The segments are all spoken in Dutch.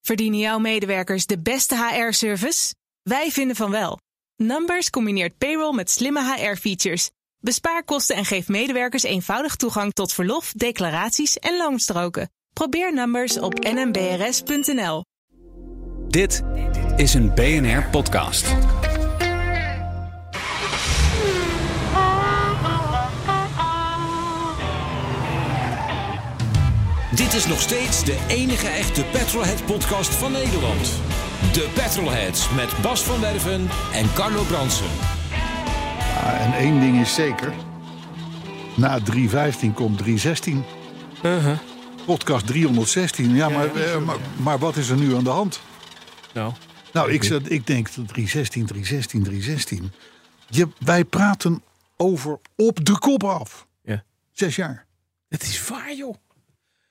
Verdienen jouw medewerkers de beste HR-service? Wij vinden van wel. Numbers combineert payroll met slimme HR-features. Bespaar kosten en geef medewerkers eenvoudig toegang tot verlof, declaraties en loonstroken. Probeer Numbers op nmbrs.nl. Dit is een BNR-podcast. Dit is nog steeds de enige echte Petrolhead-podcast van Nederland. De Petrolheads met Bas van Werven en Carlo Bransen. Ja, en één ding is zeker. Na 3.15 komt 3.16. Podcast 316. Ja, maar, eh, maar, maar wat is er nu aan de hand? Nou, Nou, ik, zat, ik denk dat 316, 316, 316. Je, wij praten over op de kop af. Ja. Zes jaar. het is waar, joh.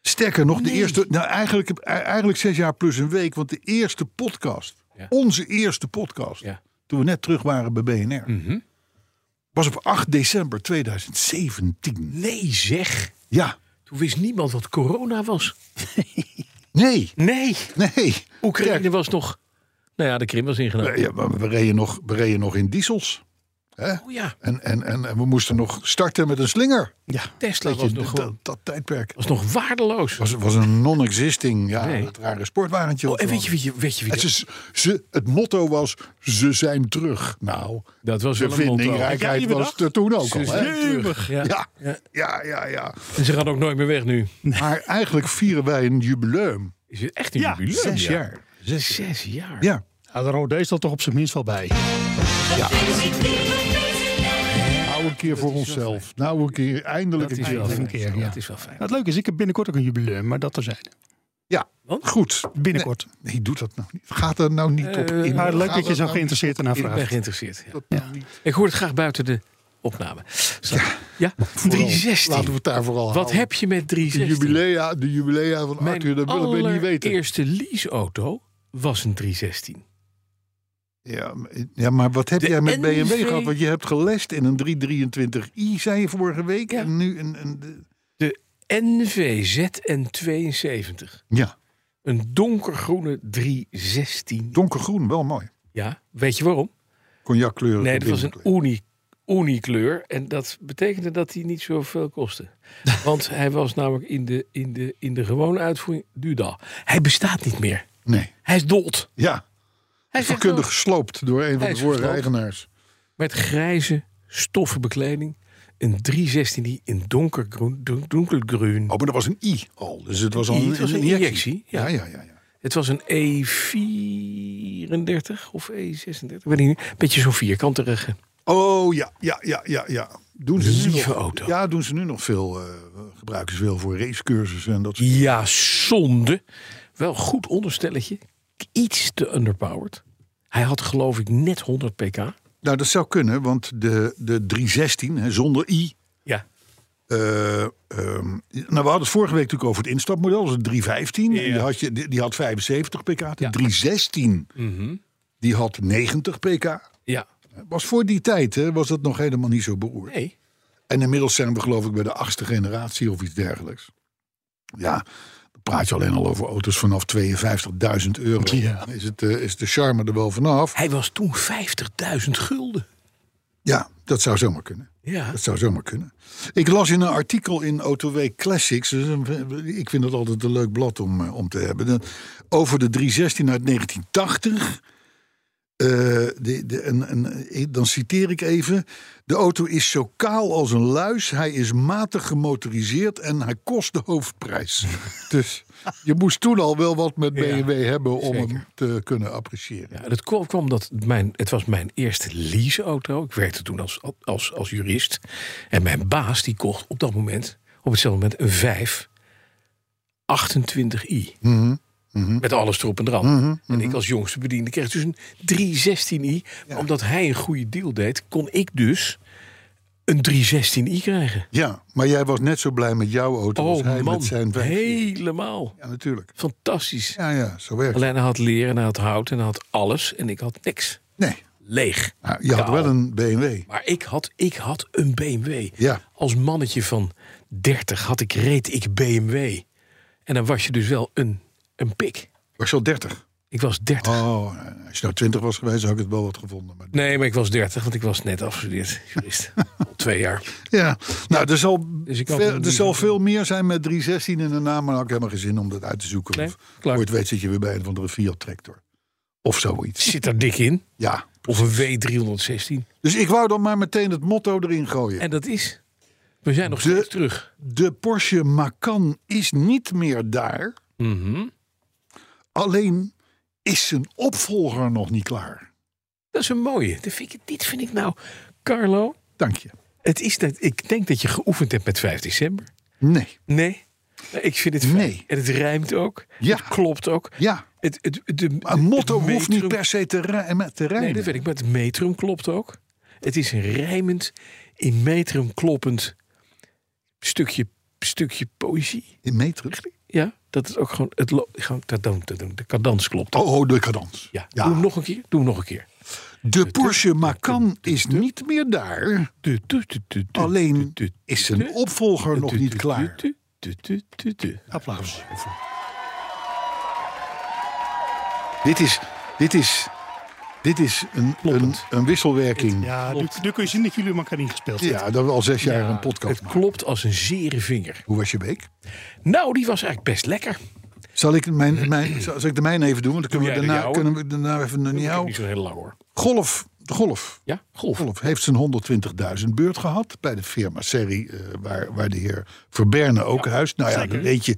Sterker nog, de eerste. Nou, eigenlijk, eigenlijk zes jaar plus een week. Want de eerste podcast. Ja. Onze eerste podcast. Ja. Mhm. Toen we net terug waren bij BNR. Was op 8 december 2017. Nee, zeg. Ja. Toen wist niemand wat corona was. Nee. Nee. Nee. Oekraïne Kijk, was nog... Nou ja, de Krim was ingenomen. we- ja, maar we, reden nog, we reden nog in diesels. Oh ja, En, en, en, en we moesten nog starten met een slinger. ja. Tesla Dat, was je, nog, dat, gewoon, dat, tijdperk. was nog waardeloos. was, was een non-existing, ja, Nee. het rare sportwagentje. oh, en weet je, wie je, weet je wie het, dat- is, ze, het motto was, ze zijn terug. Nou, Dat was de wel een motto. vindingrijkheid Ja, die was er toen ook al. Ze Hè? zijn terug. Ja. Ja, ja, ja, ja. En ze gaan ook nooit meer weg nu. Maar eigenlijk vieren wij een jubileum. Is het echt een Ja, jubileum? Zes ja. jaar. Zes, zes jaar. Ja. Ja, de Rode is dat toch op zijn minst wel bij. Nou een keer voor onszelf. Nou een keer eindelijk Dat een is wel keer. fijn. keer, ja. Dat is wel fijn. Nou, het leuke is, ik heb binnenkort ook een jubileum, maar dat er zijn. Ja, Want? goed. Binnenkort. Nee, doe dat nou niet. Gaat er nou niet op Eh, in. Maar leuk Gaat dat je er zo nou geïnteresseerd ernaar Ik ben vraagt. geïnteresseerd. ja. Ik hoor het graag buiten de opname. Zo. Ja, vooral- 316. Laten we het daar vooral Wat heb je met De 316? jubilea, de jubilea van Arthur, dat willen we niet weten. eerste leaseauto was een 316. Ja, maar- ja, maar wat heb De jij met NV BMW gehad? Want je hebt gelest in een 323i, zei je vorige week. Ja. En nu een... een de- De NVZN72. ja, Een donkergroene 316. donkergroen, wel mooi. Ja, weet je waarom? Cognackleur. Nee, dat was een uni, unikleur. En dat betekende dat hij niet zoveel kostte. Want hij was namelijk in de, in de, in de gewone uitvoering Duda. Hij bestaat niet meer. Nee, Hij is dood. ja. Hij is echt Vakkundig dood. gesloopt door een van Hij de is vorige gesloopt. eigenaars. Met grijze stoffen bekleding. Een 316 die in donkergroen, don- donkergroen. Oh, maar dat was een i al. Dus het was al I, een, het was een injectie, Ja, ja, ja. ja. ja. Het was een E34 of E36, weet ik niet. Beetje zo'n vierkanterige. Oh, ja, ja, ja, ja. ja. Doen ze nu Lieve nog, auto. Ja, doen ze nu nog veel. eh gebruiken ze veel voor racecursussen en dat soort Ja, zonde. Wel goed onderstelletje. Iets te underpowered. Hij had geloof ik net 100 pk. Nou, dat zou kunnen, want de, de 316 hè, zonder i. Ja. eh, ehm, nou, we hadden het vorige week natuurlijk over het instapmodel, dat was het 315. En die, had je, die, die had 75 pk. De 316, die had 90 pk. Ja. Was voor die tijd hè, was dat nog helemaal niet zo beroerd. Nee. En inmiddels zijn we geloof ik bij de achtste generatie of iets dergelijks. Ja, dan praat je alleen al over auto's vanaf 52.000 euro. Ja. Is, het, eh, is de charme er wel vanaf? Hij was toen 50.000 gulden. Ja, dat zou zomaar kunnen. Ja. Dat zou zomaar kunnen. Ik las in een artikel in Autoweek Classics. dus een- ik vind dat altijd een leuk blad om, eh, om te hebben. De- over de 316 uit 1980. Eh, de, de, een, een- dan citeer ik even. De auto is zo kaal als een luis. Hij is matig gemotoriseerd en hij kost de hoofdprijs. dus je moest toen al wel wat met BMW hebben om hem te kunnen appreciëren. Ja, dat kwam, kwam dat mijn, het was mijn eerste leaseauto. Ik werkte toen als, als, als jurist. En mijn baas die kocht op dat moment, op hetzelfde moment, een 5 28i. Mhm, Met alles erop en eraan. En ik als jongste bediende kreeg dus een 316i. Maar Omdat hij een goede deal deed, kon ik dus een 316i krijgen. Ja, maar jij was net zo blij met jouw auto als hij Oh man, met zijn vijf. helemaal. Ja, natuurlijk. Fantastisch. Ja, ja, zo werkt het. Alleen hij had leer en hij had hout en hij had alles. En ik had niks. Nee, Leeg. nou, je had Kaal. wel een BMW. Maar ik had, ik had een BMW. Ja. Als mannetje van 30 had ik, reed ik BMW. En dan was je dus wel een, een pik. Was je al 30? Ik was 30. Oh, als je nou 20 was geweest, zou ik het wel wat gevonden. Maar... Nee, maar ik was 30, want ik was net afgestudeerd. Jurist. Al twee jaar. Ja, nou, er zal, Dus ik had veel, hem er niet zal gevonden. veel meer zijn met 316 in de naam, maar dan had ik helemaal geen zin om dat uit te zoeken. Nee, of klaar. ooit weet zit je weer bij een of andere Fiat tractor. Of zoiets. Zit er dik in. Ja. Of een W316. Dus ik wou dan maar meteen het motto erin gooien. En dat is... We zijn nog De- steeds terug. De Porsche Macan is niet meer daar. Mhm. Alleen is zijn opvolger nog niet klaar. Dat is een mooie. Dat vind ik, dit vind ik nou... Carlo, Dank je. het is dat, ik denk dat je geoefend hebt met 5 december. Nee. Nee. Ik vind het fijn. Nee. En het rijmt ook. Ja. Het klopt ook. Ja. Het, het, het- de, Een motto het hoeft niet metrum- per se te, rij- met te rijden. Nee, dat weet ik. Maar het metrum klopt ook. Het is een rijmend, in metrum kloppend stukje, stukje poëzie. In metrum. Ja, dat het ook gewoon... Het lo- gewoon dat, dat, dat, de cadans klopt. Oh, oh, de cadans. Ja. Doe hem nog een keer. Doe hem nog een keer. De Porsche Macan is niet meer daar. Du- du- du- du- du- du- Alleen du- du- is zijn du- opvolger du- nog du- niet du- klaar. du- du- du- du- du. Applaus. Dit is, dit is, dit is een, een, een wisselwerking. Ja, Ja, nu, nu kun je zien dat jullie elkaar niet gespeeld hebben. dat we al zes jaar een podcast Het maken. klopt als een zere vinger. Hoe was je week? Nou, die was eigenlijk best lekker. Zal ik, mijn, mijn, zal zal ik de mijne even doen? Want dan kunnen, jij we de daarna, jouwe? kunnen we daarna even een Ik heb jou. Niet zo heel lang hoor. Golf, de golf. Ja, golf. Golf heeft zijn 120.000 beurt gehad bij de firma Serie, eh, waar, waar de heer Verberne ook huist. Nou ja, dan weet je,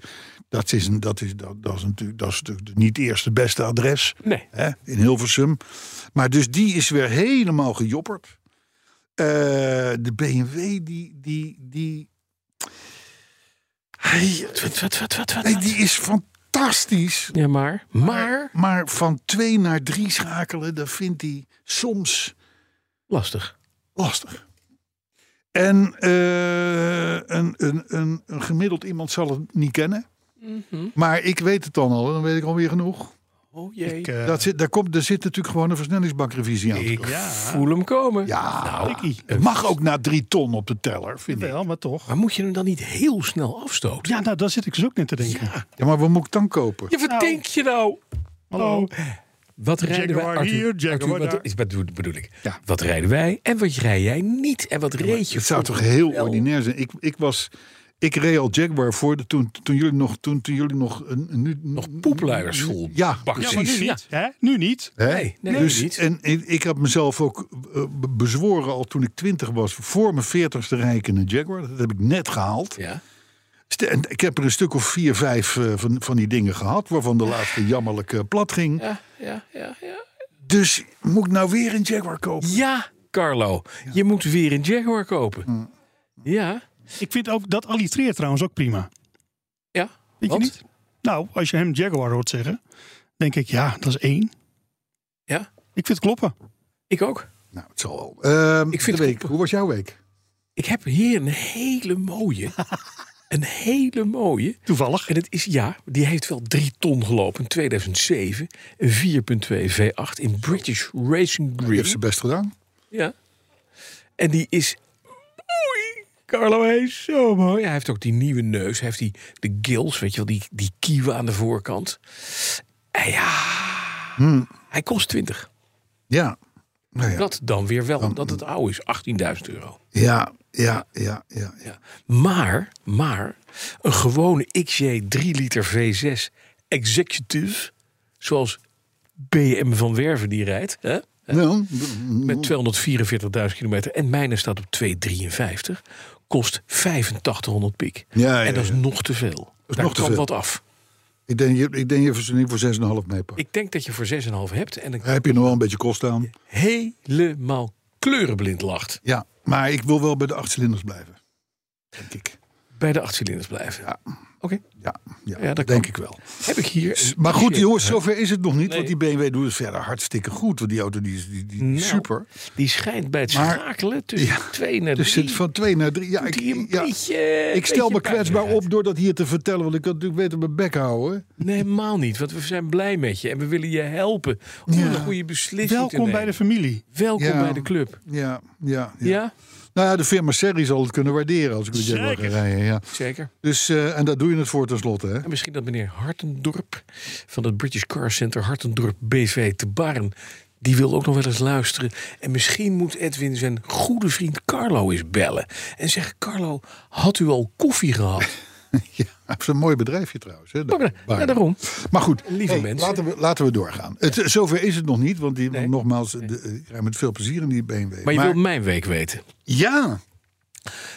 dat is, een, dat is, dat, dat is natuurlijk, dat is natuurlijk niet eerst het beste adres Nee. hè, in Hilversum. Maar dus die is weer helemaal gejopperd. Eh, de BMW, die, die, die, Wat, wat, wat, wat, wat, wat? nee, die is fantastisch. Ja, maar. Maar. Maar van twee naar drie schakelen, dat vindt hij soms Lastig. lastig. En eh, een, een, een, een gemiddeld iemand zal het niet kennen. Mhm. Maar ik weet het dan al, en dan weet ik alweer genoeg. Oh jee. Ik, Ik, eh, Dat zit, daar, komt, daar zit natuurlijk gewoon een versnellingsbakrevisie aan. te komen. voel hem komen. Ja, Nou, tikkie. het mag ook na drie ton op de teller, vind ik. Wel, maar toch. Maar moet je hem dan niet heel snel afstoten? Ja, nou, daar zit ik dus ook net te denken. Ja, maar wat moet ik dan kopen? Ja, wat Nou. denk je nou? Hallo. Oh, Wat rijden wij? Jaguar Arthur, hier, Jaguar Arthur, wat, daar. is, wat bedoel- bedoel ik? Wat rijden wij en wat rij jij niet? En wat reed je? Het zou voor- toch heel wel. ordinair zijn. Ik, ik was... Ik reed al Jaguar voor de, toen, toen jullie nog... Toen, toen jullie nog, een, een- nu, Nog poepluiers vol. Ja, bakken. Ja, maar nu Ja. niet. Hè? Nu niet. Hè? Nee, nee, dus, niet. En ik, ik had mezelf ook eh, be- bezworen al toen ik twintig was... voor mijn veertigste rijk in een Jaguar. Dat heb ik net gehaald. Ja. St- en Ik heb er een stuk of vier, vijf eh, van, van die dingen gehad... waarvan de laatste jammerlijk eh, plat ging. Ja, ja, ja, ja. Dus moet ik nou weer een Jaguar kopen? Ja, Carlo. Je moet weer een Jaguar kopen. Ja. Ik vind ook dat allitereert trouwens ook prima. Ja. Vind Want? je niet? Nou, als je hem Jaguar hoort zeggen, denk ik, ja, dat is één. Ja. Ik vind het kloppen. Ik ook. Nou, het zal wel. Ehm, Ik vind de het week. goed. Hoe was jouw week? Ik heb hier een hele mooie. een hele mooie. Toevallig. En het is, ja, die heeft wel drie ton gelopen in 2007. Een 4.2 V8 in British Racing Je hebt Green. Nou, ze best gedaan. Ja. En die is... Oei, Carlo hij is zo mooi. Hij heeft ook die nieuwe neus. Hij heeft die, de gills, weet je wel, die, die kieven aan de voorkant. En ja, hij kost 20. Ja. Hmm. Nou ja. Dat dan weer wel, omdat het oud is. 18.000 euro. Ja, ja, ja, ja. ja. Ja. Maar, maar, een gewone XJ 3 liter V6 executive, zoals BM van Werven die rijdt, hè, Nou, met 244.000 kilometer en mijne staat op 253, kost 8500 piek. Ja, ja, en dat is ja. nog te veel. is Daar nog te kan veel. wat af. ik denk, je- ik denk je verzoening voor 6,5 meepakt. Ik denk dat je voor 6,5 hebt en dan Heb je nog wel een beetje kost aan? helemaal kleurenblind lacht. Ja, maar ik wil wel bij de acht cilinders blijven. Denk ik. Bij de achtcilinders blijven. Ja. Oké, Ja, ja, Ja, dat dat denk kan. ik wel. heb ik hier. Maar goed, Shit. jongens, zover is het nog niet. Want die Nee. BMW doet het verder hartstikke goed. Want die auto die is die, die, Nou, super. Die schijnt bij het Maar- schakelen tussen 2 naar 3. Dus zit van twee naar drie. Ja, ik, Die een ja, beetje- ik stel me beetje kwetsbaar pijnlijk op door dat hier te vertellen. Want ik kan natuurlijk beter mijn bek houden. uit. Nee, helemaal niet. Want we zijn blij met je. En we willen je helpen om Ja. een goede beslissing te Welkom bij de nemen. familie. Oh, Welkom Ja. bij de club. Ja, ja, ja. Ja? Nou ja, de firma Serri zal het kunnen waarderen als ik met Jaguar ga Zeker. rijden. Ja. Zeker. Dus, eh, en daar doe je het voor tenslotte. Hè? En misschien dat meneer Hartendorp van het British Car Center Hartendorp BV te Baren. Die wil ook nog wel eens luisteren. En misschien moet Edwin zijn goede vriend Carlo eens bellen. En zeggen: Carlo, had u al koffie gehad? Ja, het is een mooi bedrijfje trouwens. Hè? Maar, Waar. ja, daarom. Maar goed, Lieve mensen. Laten, we, laten we doorgaan. Het, zover is het nog niet, want die, Nee. nogmaals, de, eh, ik rij met veel plezier in die BMW. Maar je wil mijn week weten. Ja,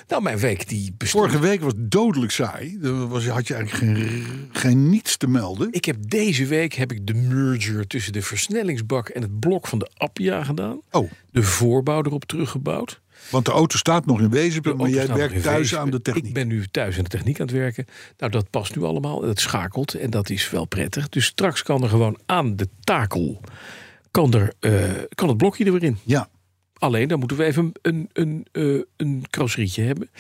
Nou, mijn week die bestond. vorige week was dodelijk saai. Er was, had je eigenlijk geen, geen niets te melden. Ik heb deze week heb ik de merger tussen de versnellingsbak en het blok van de Appia gedaan. Oh, De voorbouw erop teruggebouwd. want de auto staat nog in Wezenpen, maar De jij auto staat werkt nog in thuis Weesp. aan de techniek. Ik ben nu thuis aan de techniek aan het werken. Nou, dat past nu allemaal. Dat schakelt en dat is wel prettig. Dus straks kan er gewoon aan de takel... kan, er, eh, kan het blokje er weer in. Ja, Alleen, dan moeten we even een, een, eh, een carrosserietje hebben.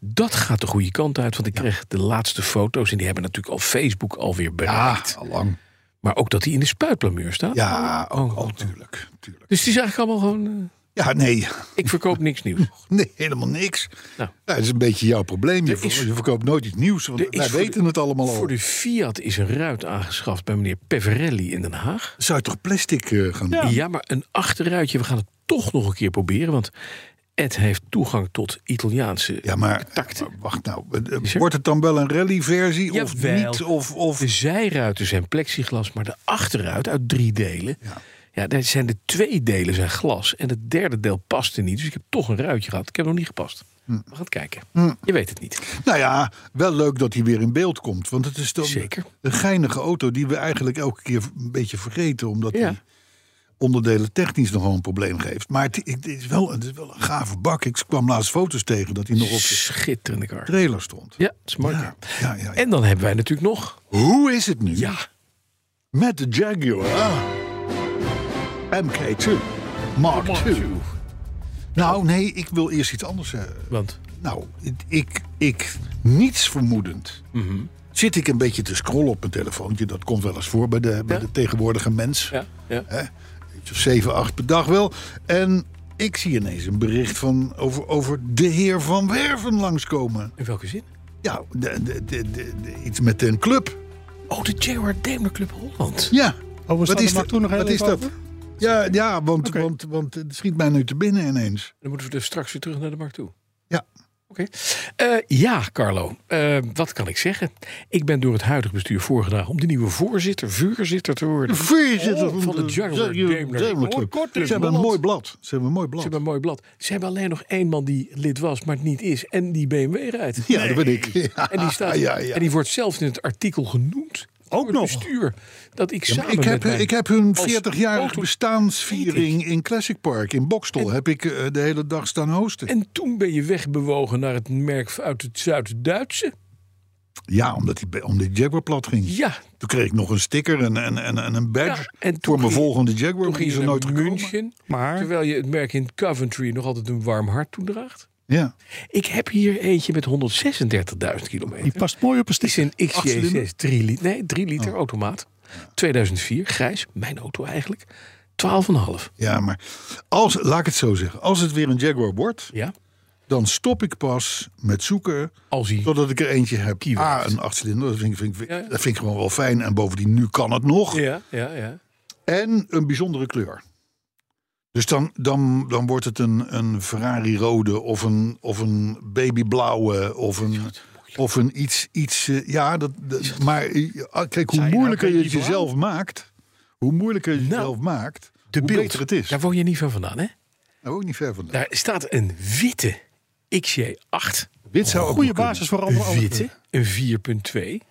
Dat gaat de goede kant uit, want ik kreeg de laatste foto's... en die hebben natuurlijk al Facebook alweer bereikt. ah, lang. Maar ook dat hij in de spuitplameur staat. Ja, oh, oh, tuurlijk, tuurlijk. Dus het is eigenlijk allemaal gewoon... eh, Ja, nee, ik verkoop niks nieuws. nee helemaal niks. Nou. Ja, dat is een beetje jouw probleem. Je, Er is- ver- je verkoopt nooit iets nieuws, want Er is wij voor de- weten het allemaal al. Voor de Fiat is een ruit aangeschaft bij meneer Peverelli in Den Haag. Zou je toch plastic eh, gaan doen? Ja. maar een achterruitje. We gaan het toch nog een keer proberen. Want Ed heeft toegang tot Italiaanse. Ja, maar, Tacten. maar wacht nou. eh, eh, Is er- Wordt het dan wel een rallyversie of Jawel. niet? Of, of... De zijruiten zijn plexiglas, maar de achterruit uit drie delen. Ja. Ja. daar zijn de twee delen zijn glas. En het derde deel paste niet. Dus ik heb toch een ruitje gehad. Ik heb nog niet gepast. Hm. We gaan het kijken. Je weet het niet. Nou ja, wel leuk dat hij weer in beeld komt. Want het is dan Zeker. een geinige auto die we eigenlijk elke keer een beetje vergeten. Omdat Ja. die onderdelen technisch nogal een probleem geeft. Maar het, het is wel, het is wel een gave bak. Ik kwam laatst foto's tegen dat hij nog op de Schitterende kar. trailer stond. Ja, het is mooi. Ja, ja, ja, ja. En dan hebben wij natuurlijk nog. Hoe is het nu Ja, met de Jaguar MK2 Mark II? Nou nee, ik wil eerst iets anders zeggen. want Nou, het- ik, ik niets vermoedend. Zit ik een beetje te scrollen op mijn telefoontje. Dat komt wel eens voor bij de, bij Ja. de tegenwoordige mens. ja, ja. Hè? Iets of zeven, acht per dag wel. En ik zie ineens een bericht van over, over de heer Van Werven langskomen. in welke zin? Ja, de, de, de, de- de- iets met een club. Oh, de Jaguar Daimler Club Holland. Ja. Oh, we staan er maar dat- toen nog heel wat is even dat? over. Ja, ja want, Oké. want, want het schiet mij nu te binnen ineens. Dan moeten we dus straks weer terug naar de markt toe. Ja. Oké. Eh, ja, Carlo. Eh, wat kan ik zeggen? Ik ben door het huidige bestuur voorgedragen om de nieuwe voorzitter, vuurzitter te worden. Ze Voorzitter Oh, van de Jaguar Daimler. Daimler Club. Kort in Ze hebben een Holland. mooi blad. Ze hebben een mooi blad. hebben een mooi blad. Ze hebben alleen nog één man die lid was, maar het niet is. En die BMW rijdt. Ja, dat ben ik. Ja, En die, staat, ja, ja. en die wordt zelfs in het artikel genoemd. Ook door het nog. bestuur. Dat ik Ja, maar samen ik, heb, met mijn- ik heb hun als 40-jarig auto- bestaansviering in Classic Park in Bokstel. heb ik eh, de hele dag staan hosten. En toen ben je wegbewogen naar het merk uit het Zuid-Duitse. ja, omdat die, be- om die Jaguar plat ging. Ja, Toen kreeg ik nog een sticker en, en, en, en een badge Ja, en toen voor mijn ging- volgende Jaguar. Toen maar die ging is je er nooit naar gekomen. München. Maar- Terwijl je het merk in Coventry nog altijd een warm hart toedraagt. Ja. Ik heb hier eentje met 136.000 kilometer. Die past mooi op een Het is stick. een XJ6 3 liter, nee, 3 liter Oh. automaat. 2004, grijs, mijn auto eigenlijk. 12,5. ja, maar als, laat ik het zo zeggen. Als het weer een Jaguar wordt, Ja, dan stop ik pas met zoeken als hij... totdat ik er eentje heb. Kiewit. Ah, een achtcilinder, dat vind, ik- vind, ik- Ja, ja. dat vind ik gewoon wel fijn. En bovendien, nu kan het nog. Ja, ja, ja. En een bijzondere kleur. Dus dan, dan, dan wordt het een, een Ferrari rode of een, of een babyblauwe of een, of een iets. iets eh, ja, dat, dat- maar eh, ah, kijk, hoe Zei je nou moeilijker je het babyblauw? jezelf maakt, hoe moeilijker je het Nou, jezelf maakt, De hoe beeld. beter het is. Daar Nou, woon je niet van vandaan, hè? ook niet ver vandaan. Daar staat een witte XJ8. Wit zou ook Goede nog kunnen. basis voor alle Een alle- witte, een 4.2.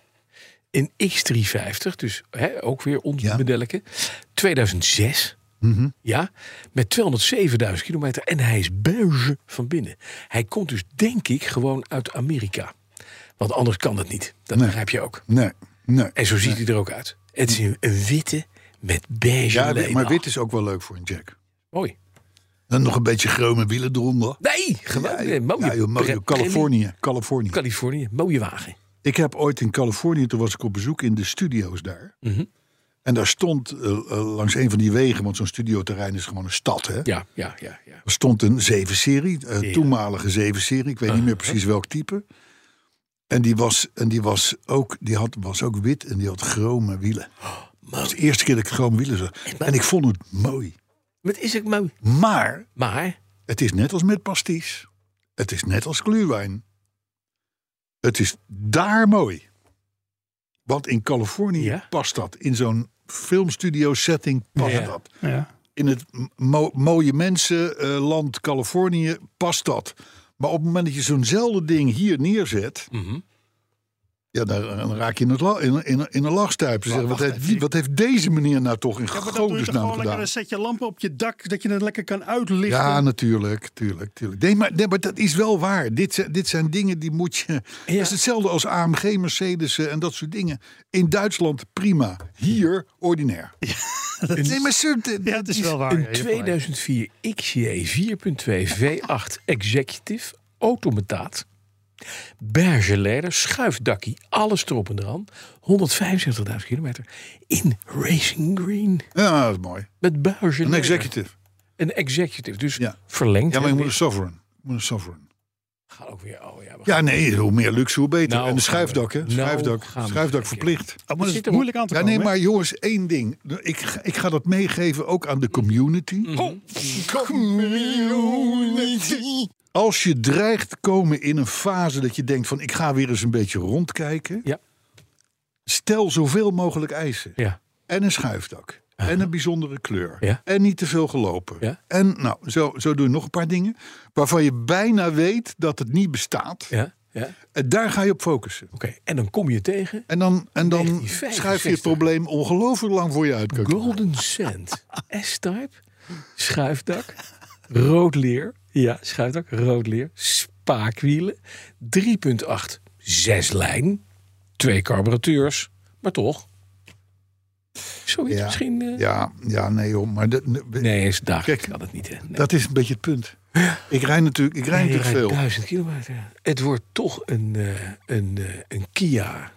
Een X350, dus hè, ook weer ons Ja. Mhm. modelletje. 2006. Ja, met 207.000 kilometer. En hij is beige van binnen. Hij komt dus, denk ik, gewoon uit Amerika. Want anders kan het niet. Dat Nee. begrijp je ook. Nee, nee. En zo ziet hij er ook uit. Het is een, een witte met beige Ja, leden. Ah, maar wit is ook wel leuk voor een jack. Mooi. En nog een beetje groene wielen eronder. Nee, gewoon Ja, eh, mooie. ja, joh, mooi, joh. pre- Californië. Californië. Californië, mooie wagen. Mhm. Ik heb ooit in Californië, toen was ik op bezoek in de studio's daar. En daar stond eh, eh, langs een van die wegen, want zo'n studioterrein is gewoon een stad. Hè? Ja, ja, ja. ja. Er stond een zevenserie, eh Ja. Ah, toenmalige zevenserie. Ik weet niet meer precies welk type. En die was, en die was, ook, die had, was ook wit en die had chrome wielen. Oh, dat was de eerste keer dat ik chrome wielen zag. En ik vond het mooi. Maar het is ook mooi. Maar Maar, het is net als met pasties. Het is net als glühwein. Het is daar mooi. Want in Californië Ja. past dat. In zo'n filmstudio setting past Ja. dat. Ja. In het mo- mooie mensenland eh, Californië past dat. Maar op het moment dat je zo'nzelfde ding hier neerzet... Mhm. Ja, dan, dan raak je in, het la- in, in, in een lachstuip. Ze zeggen, wat, heeft, die- wat heeft deze meneer nou toch in Ja, maar dat doe je toch godesnaam gewoon lekker gedaan? een setje lampen op je dak, dat je het lekker kan uitlichten. Ja, natuurlijk, tuurlijk, tuurlijk. Nee, maar, nee, maar dat is wel waar. Dit, zijn- dit zijn dingen die moet je... Het is hetzelfde als AMG, Mercedes eh, en dat soort dingen. In Duitsland prima. Hier ordinair. nee, maar zo- d- ja, het is wel waar. ja, een je hebt gelijk. 2004 XJ 4.2 V8 Executive automataat. Berge leider, schuifdakkie, alles erop en eraan. 175.000 kilometer in Racing Green. Ja, dat is mooi. Met Berge Een executive. Een executive, dus Ja. verlengd. Ja, maar je en moet dus- een sovereign. Je moet een sovereign. Ga ook weer, oh ja, we Ja, nee, hoe meer luxe, hoe beter. Nou en een gaan we- schuifdak, hè? nou Schuifdak, gaan we schuifdak kijken. verplicht. Dus- Oh, maar dat zit is er- moeilijk aan te Ja, komen. nee, hè? maar jongens, één ding. Ik, ga- ik ga dat meegeven ook aan de community. Community. Als je dreigt te komen in een fase dat je denkt van ik ga weer eens een beetje rondkijken. Ja. Stel zoveel mogelijk eisen. Ja. En een schuifdak. En een bijzondere kleur. Ja. En niet te veel gelopen. Ja. En nou, zo, zo doe je nog een paar dingen waarvan je bijna weet dat het niet bestaat. Ja, ja. Oké, En daar ga je op focussen. en dan kom je tegen En dan, en dan 1965. schuif je het probleem ongelooflijk lang voor je uit. Keuken. Golden Sand S-type, schuifdak, rood leer. Ja, schuifdak, rood leer, spaakwielen, 3.8, zes lijn, twee carburateurs, maar toch. Zoiets Ja. misschien... eh, Ja, ja, nee joh, maar dat, Nee, is dagelijks Kijk, kan het niet. Hè? Nee. dat is een beetje het punt. Ik rijd natuurlijk, ik rijd Nee, je natuurlijk rijdt veel. duizend kilometer. Het wordt toch een, eh, een, eh, een Kia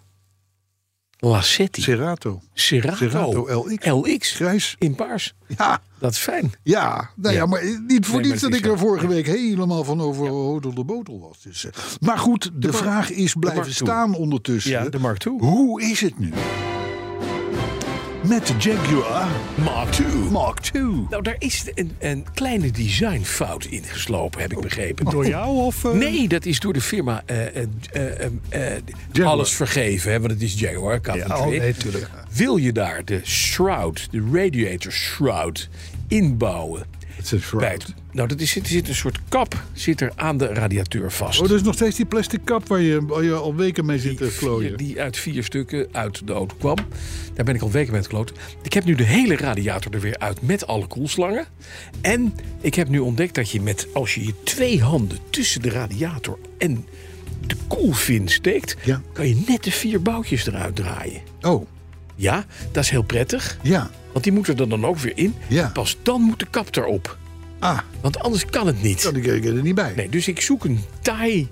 Lacetti Cerato, Cerato, Cerato LX. LX grijs. in paars. Ja, Dat is fijn. ja, nou ja, Ja. maar niet voor Nee, maar niets het dat is ik zo. er vorige week helemaal van over hodel de botel was. Dus, eh, maar goed, de, vraag is blijven Mark toe. staan ondertussen. Ja, de Mark toe. Hoe is het nu? Met de Jaguar Mark II. Mark II. Nou, daar is een, een kleine designfout in geslopen, heb ik begrepen. Door jou of... eh, Nee, dat is door de firma eh, eh, eh, eh, eh, Jaguar. alles vergeven, hè, want het is Jaguar. Kan niet oh, meer. nee, tuurlijk. Wil je daar de shroud, de radiator shroud, inbouwen? Het is een shroud. Bij het- nou, dat is, er zit een soort kap zit er aan de radiator vast. Oh, dat is nog steeds die plastic kap waar je, waar je al weken mee zit te Vier- klooien. die uit vier stukken uit de auto kwam. Daar ben ik al weken mee aan het kloten. Ik heb nu de hele radiator er weer uit met alle koelslangen. En ik heb nu ontdekt dat je met, als je je twee handen tussen de radiator en de koelvin steekt, Ja. kan je net de vier boutjes eruit draaien. Oh, Ja, dat is heel prettig. ja. Want die moeten er dan ook weer in. Ja. En Pas dan moet de kap erop. Ah, Want anders kan het niet. dan kreeg ik er niet bij. Nee, dus ik zoek een taai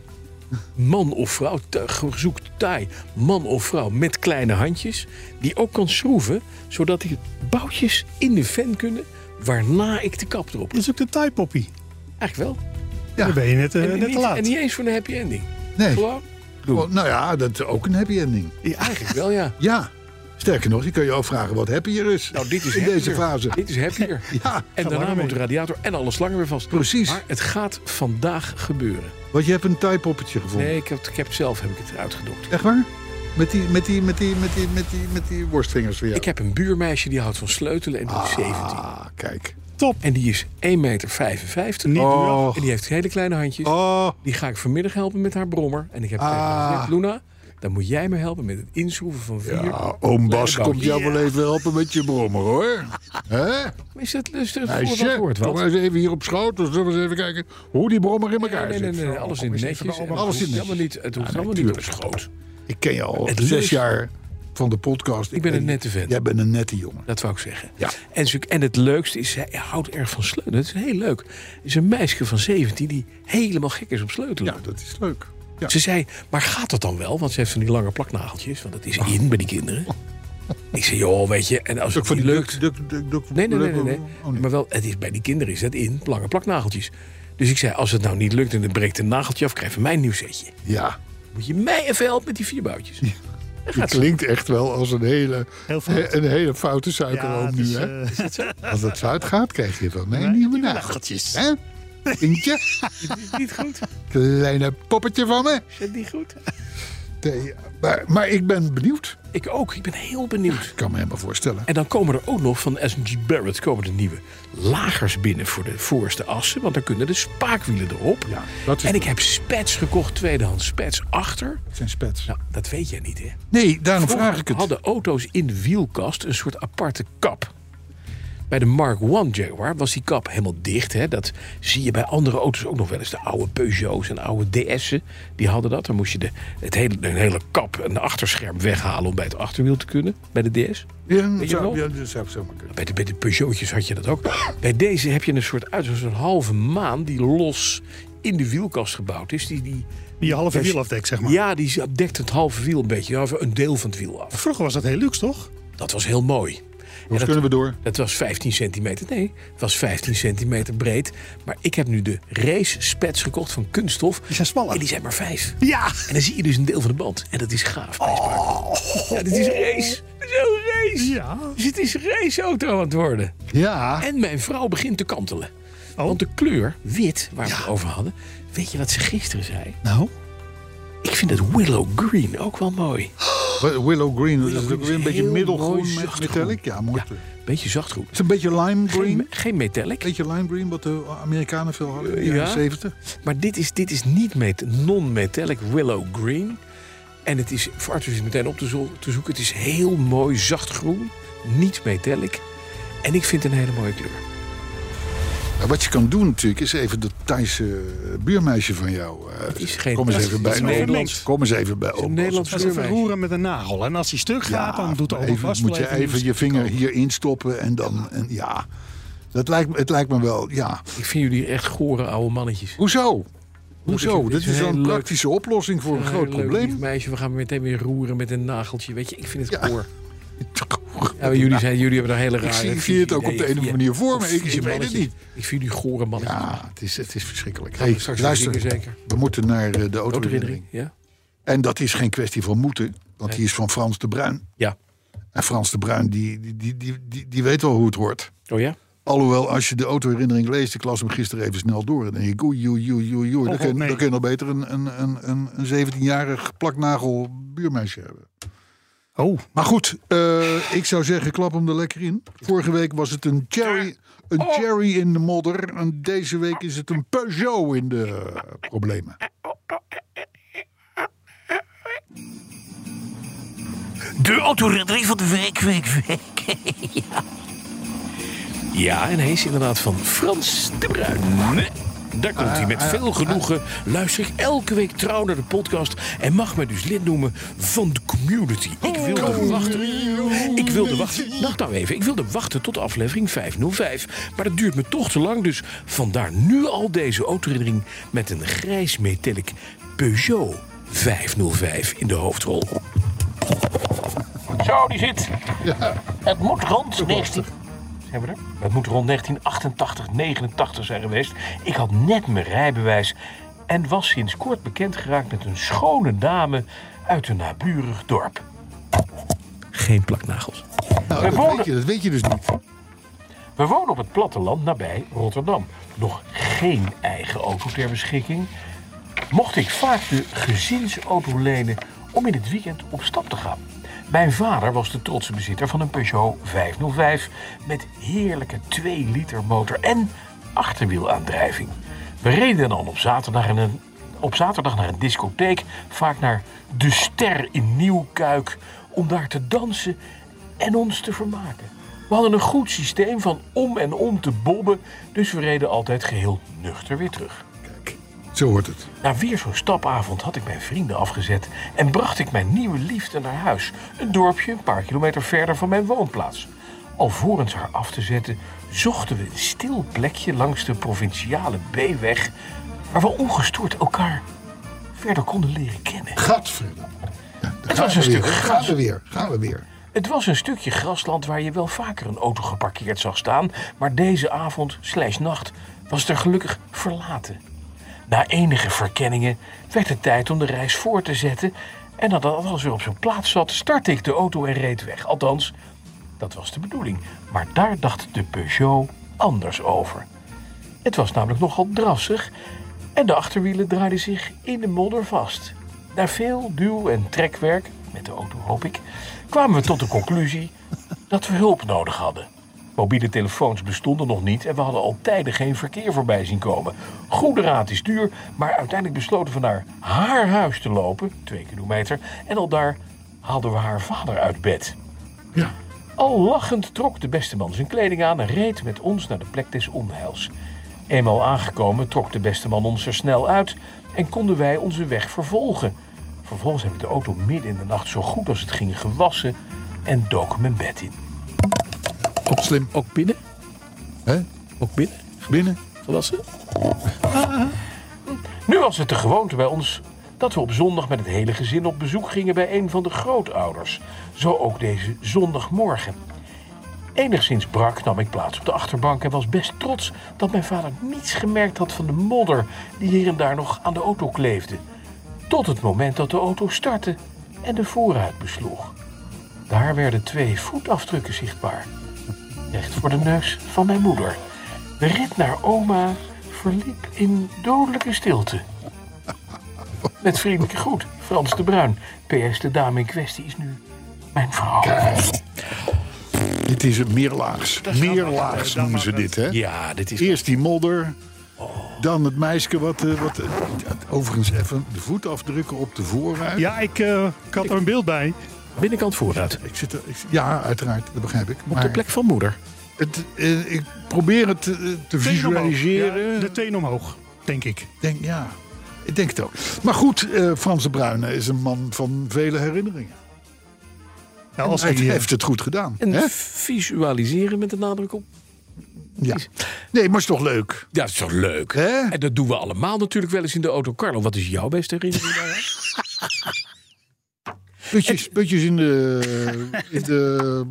man of vrouw. ta- ge- Zoek taai man of vrouw met kleine handjes. Die ook kan schroeven. Zodat die boutjes in de fan kunnen. Waarna ik de kap erop. Dat is ook de Thai Poppy. Eigenlijk wel. Ja. Dan ben je net, eh, en, net niet, te laat. en niet eens voor een happy ending. Nee. Gewoon. Gewoon, nou ja, dat is ook een happy ending. Eigenlijk wel, ja. Ja. Sterker nog, je kan je afvragen wat happier is. Nou, dit is in deze happier. fase. Dit is happier. Ja, en daarna langer moet de mee. radiator en alle slangen weer vast. Precies. Maar het gaat vandaag gebeuren. want je hebt een typoppetje gevonden. Nee, ik heb, ik heb het zelf heb ik het uitgedokt. Echt waar? Met die, met die, met die, met die, met die, met die worstvingers van jou. Ik heb een buurmeisje die houdt van sleutelen en die is 17. Ah, kijk. Top. En die is 1,55 meter. Niet Oh. En die heeft hele kleine handjes. Oh, Die ga ik vanmiddag helpen met haar brommer. En ik heb tegen haar Ah. gezegd, Luna, dan moet jij me helpen met het inschroeven van vier. ja, Ah, oom Bas Lekker komt jou Ja. wel even helpen met je brommer, hoor. Hè? Maar Is dat dus het Meisje, woord kom maar wat? eens even hier op schoot. Dan zullen we eens even kijken hoe die brommer in Nee, elkaar nee, zit. nee, nee, alles in netjes. En het Alles hoeft in netjes. helemaal niet, het hoeft helemaal niet op schoot. Ik ken je al Het zes leukste- jaar van de podcast. Ik ben een nette vent. Jij bent een nette jongen. Dat wou ik zeggen. Ja. En, ze- en het leukste is, zij houdt erg van sleutelen. Het is heel leuk. Het is een meisje van 17 die helemaal gek is op sleutelen. Ja, dat is leuk. Ja. Ze zei, maar gaat dat dan wel? Want ze heeft van die lange plaknageltjes. Want dat is in bij die kinderen. Ik zei, joh, weet je, en als het niet lukt... Nee, nee, nee, nee. nee. Oh, Maar wel, het is, bij die kinderen is dat in lange plaknageltjes. Dus ik zei, als het nou niet lukt en het breekt een nageltje af, krijg je mij een nieuw setje. Ja, Moet je mij even helpen met die vierboutjes. die klinkt echt wel als een hele, Heel fout. een hele foute suikeroom het nu. is, hè? eh, Als het fout gaat, krijg je van mij nieuwe nageltjes. Hè? Vriendje, niet goed? kleine poppetje van me. Is dat niet goed? Nee, maar, maar ik ben benieuwd. Ik ook, ik ben heel benieuwd. Ik kan me helemaal voorstellen. En dan komen er ook nog van SG Barrett komen de nieuwe lagers binnen voor de voorste assen. Want dan kunnen de spaakwielen erop. Ja, dat is en ik heb spets gekocht, tweedehands spets achter. Het zijn spets. Nou, dat weet jij niet, hè? Nee, daarom Vroeger vraag ik het. hadden auto's in de wielkast een soort aparte kap. Bij de Mark 1 Jaguar was die kap helemaal dicht. Hè? Dat zie je bij andere auto's ook nog wel eens. De oude Peugeots en oude DS'en, die hadden dat. Dan moest je de, het hele, een hele kap en de achterscherm weghalen... om bij het achterwiel te kunnen, bij de DS. Ja, Weet je zou- nog? ja, dat zou zomaar kunnen. Bij de, bij de Peugeotjes had je dat ook. Bij deze heb je een soort uit als een halve maan... die los in de wielkast gebouwd is. Die, die, Die halve wiel afdekt, zeg maar. ja, die dekt het halve wiel een beetje, of een deel van het wiel af. Vroeger was dat heel luxe, toch? Dat was heel mooi. En Hoe dat- kunnen we door? Dat was 15 centimeter. Nee, het was 15 centimeter breed. Maar ik heb nu de race spets gekocht van kunststof. Die zijn smaller. En die zijn maar vijf. Ja! En dan zie je dus een deel van de band. En dat is gaaf. Oh. bij Spark. Ja, dit is race. Dit is een race. Ja. Dus het is een raceauto aan het worden. Ja, En mijn vrouw begint te kantelen. Want de kleur wit, waar we het over hadden. Weet je wat ze gisteren zei? Nou? Ik vind het willow green ook wel mooi. Willow Green. dat is Green ook is weer een beetje heel middelgroen mooi met zacht metallic. groen. Ja, mooi. Ja. kleur. Het Beetje zachtgroen. is een beetje lime green. Geen, geen metallic. beetje lime green, wat de Amerikanen veel hadden in de Ja. jaren 70. Maar dit is, dit is niet met non-metallic willow green. En het is, voor Arthur is het meteen op te, zo- te zoeken. Het is heel mooi zacht groen, niet metallic. En ik vind het een hele mooie kleur. Ja, wat je kan doen natuurlijk, is even dat Thaise eh, buurmeisje van jou... eh, is geen kom eens Thaise, even het bij is oom Bas. Nederlands. Kom eens even bij oom Bas. Nederlands Dat is een kleurmeisje. verroeren met een nagel. En als die stuk gaat, dan doet de maar oven even, vast. Moet je wel even je nieuws. vinger hierin stoppen en dan... En ja, dat lijkt, me- het lijkt me wel, ja. Ik vind jullie echt gore oude mannetjes. Hoezo? Hoezo? dit Dit is is een zo'n heel leuk- praktische oplossing voor een Een groot leuk lief probleem. meisje, we gaan meteen weer roeren met een nageltje. Weet je, ik vind het Ja. goor. Ja, maar jullie, zijn, jullie hebben daar hele Ik rare... zie, ik zie het ook op de ideeën. een of andere manier voor me. Of Ik, ik vieze weet het mannetjes. niet. Ik vind jullie gore mannetjes. Ja, het is, het is verschrikkelijk. Gaan we straks weer zingen, zeker? we moeten naar eh, de Autoherinnering, autoherinnering. ja? En dat is geen kwestie van moeten, want Nee. die is van Frans de Bruin. Ja. En Frans de Bruin, die, die, die, die, die, die weet wel hoe het hoort. Oh ja? Alhoewel, als je de autoherinnering leest, ik las hem gisteren even snel door. En dan denk ik, oei, oei, oei, oei, oei. Dan Oh, God, kun je- nee. dan kun je nog beter een, een, een, een, een 17-jarig plaknagel buurmeisje hebben. Oh, Maar goed, eh, ik zou zeggen, klap hem er lekker in. Vorige week was het een cherry, een Oh. cherry in de modder. En deze week is het een Peugeot in de eh, problemen. De autorenderij van de week, week, week. Ja, en hij is inderdaad van Frans de Bruin. Nee, Daar komt hij met veel genoegen. Luister ik elke week trouw naar de podcast. En mag mij dus lid noemen van de community. Ik wilde wachten. Ik wilde wachten. Wacht nou even. Ik wilde wachten tot aflevering 505. Maar dat duurt me toch te lang. Dus vandaar nu al deze autoherinnering met een grijs metallic Peugeot 505 in de hoofdrol. Zo, die zit. Het moet rond 19... Zijn we er? Het moet rond 1988, 89 zijn geweest. Ik had net mijn rijbewijs en was sinds kort bekend geraakt met een schone dame uit een naburig dorp. Geen plaknagels. Nou, Wij dat wonen- weet, je, dat weet je dus niet. We wonen op het platteland nabij Rotterdam. Nog geen eigen auto ter beschikking. Mocht ik vaak de gezinsauto lenen om in het weekend op stap te gaan. Mijn vader was de trotse bezitter van een Peugeot 505 met heerlijke 2 liter motor en achterwielaandrijving. We reden dan op zaterdag, in een, op zaterdag naar een discotheek, vaak naar De Ster in Nieuwkuik, om daar te dansen en ons te vermaken. We hadden een goed systeem van om en om te bobben, dus we reden altijd geheel nuchter weer terug. Zo hoort het. Na weer zo'n stapavond had ik mijn vrienden afgezet en bracht ik mijn nieuwe liefde naar huis. Een dorpje een paar kilometer verder van mijn woonplaats. Alvorens haar af te zetten, zochten we een stil plekje langs de provinciale B-weg... waar we ongestoord elkaar verder konden leren kennen. Gadverdamme. Ja, daar was een we weer. stuk Gaan we weer. Gaan we weer. Het was een stukje grasland waar je wel vaker een auto geparkeerd zag staan, maar deze avond slash nacht was het er gelukkig verlaten. Na enige verkenningen werd het tijd om de reis voor te zetten en nadat alles weer op zijn plaats zat, startte ik de auto en reed weg. Althans, dat was de bedoeling. Maar daar dacht de Peugeot anders over. Het was namelijk nogal drassig en de achterwielen draaiden zich in de modder vast. Na veel duw- en trekwerk, met de auto hoop ik, kwamen we tot de conclusie dat we hulp nodig hadden. Mobiele telefoons bestonden nog niet en we hadden al tijden geen verkeer voorbij zien komen. Goede raad is duur, maar uiteindelijk besloten we naar haar huis te lopen, twee kilometer, en al daar haalden we haar vader uit bed. Al lachend trok de beste man zijn kleding aan en reed met ons naar de plek des onheils. Eenmaal aangekomen trok de beste man ons er snel uit en konden wij onze weg vervolgen. Vervolgens heb ik de auto midden in de nacht zo goed als het ging gewassen en dook mijn bed in. Ook slim. Ook binnen? Hè? Ook binnen? Binnen. Gewassen? Nu was het de gewoonte bij ons dat we op zondag met het hele gezin op bezoek gingen bij een van de grootouders. Zo ook deze zondagmorgen. Enigszins brak nam ik plaats op de achterbank en was best trots dat mijn vader niets gemerkt had van de modder die hier en daar nog aan de auto kleefde. Tot het moment dat de auto startte en de voorruit besloeg. Daar werden twee voetafdrukken zichtbaar. Recht voor de neus van mijn moeder. De rit naar oma verliep in dodelijke stilte. Met vriendelijke groet, Frans de Bruin. PS, de dame in kwestie is nu mijn vrouw. Dit is het meerlaags. Meerlaags dat- noemen ze dat- dit, hè? Ja, dit is... Eerst die modder. Dan het meisje wat... eh, wat eh, ja, overigens even de voetafdrukken op de voorruit. Ja, ik, eh, ik had er een beeld bij. Binnenkant vooruit. Ik zit er- ik- ja, uiteraard. Dat begrijp ik. Op de Maar plek van moeder. het, eh, ik probeer het eh, te Teen omhoog. visualiseren. Ja, de teen omhoog, denk ik. denk, ja, ik denk het ook. Maar goed, eh, Frans de Bruyne is een man van vele herinneringen. Ja, als Hij hij, eh, heeft het goed gedaan. En Hè? visualiseren met de nadruk op. Ja. Nee, maar is toch leuk? Ja, dat is toch leuk? Hè? En dat doen we allemaal natuurlijk wel eens in de auto. Carlo, wat is jouw beste herinnering daaraan? Putjes, putjes in de, in de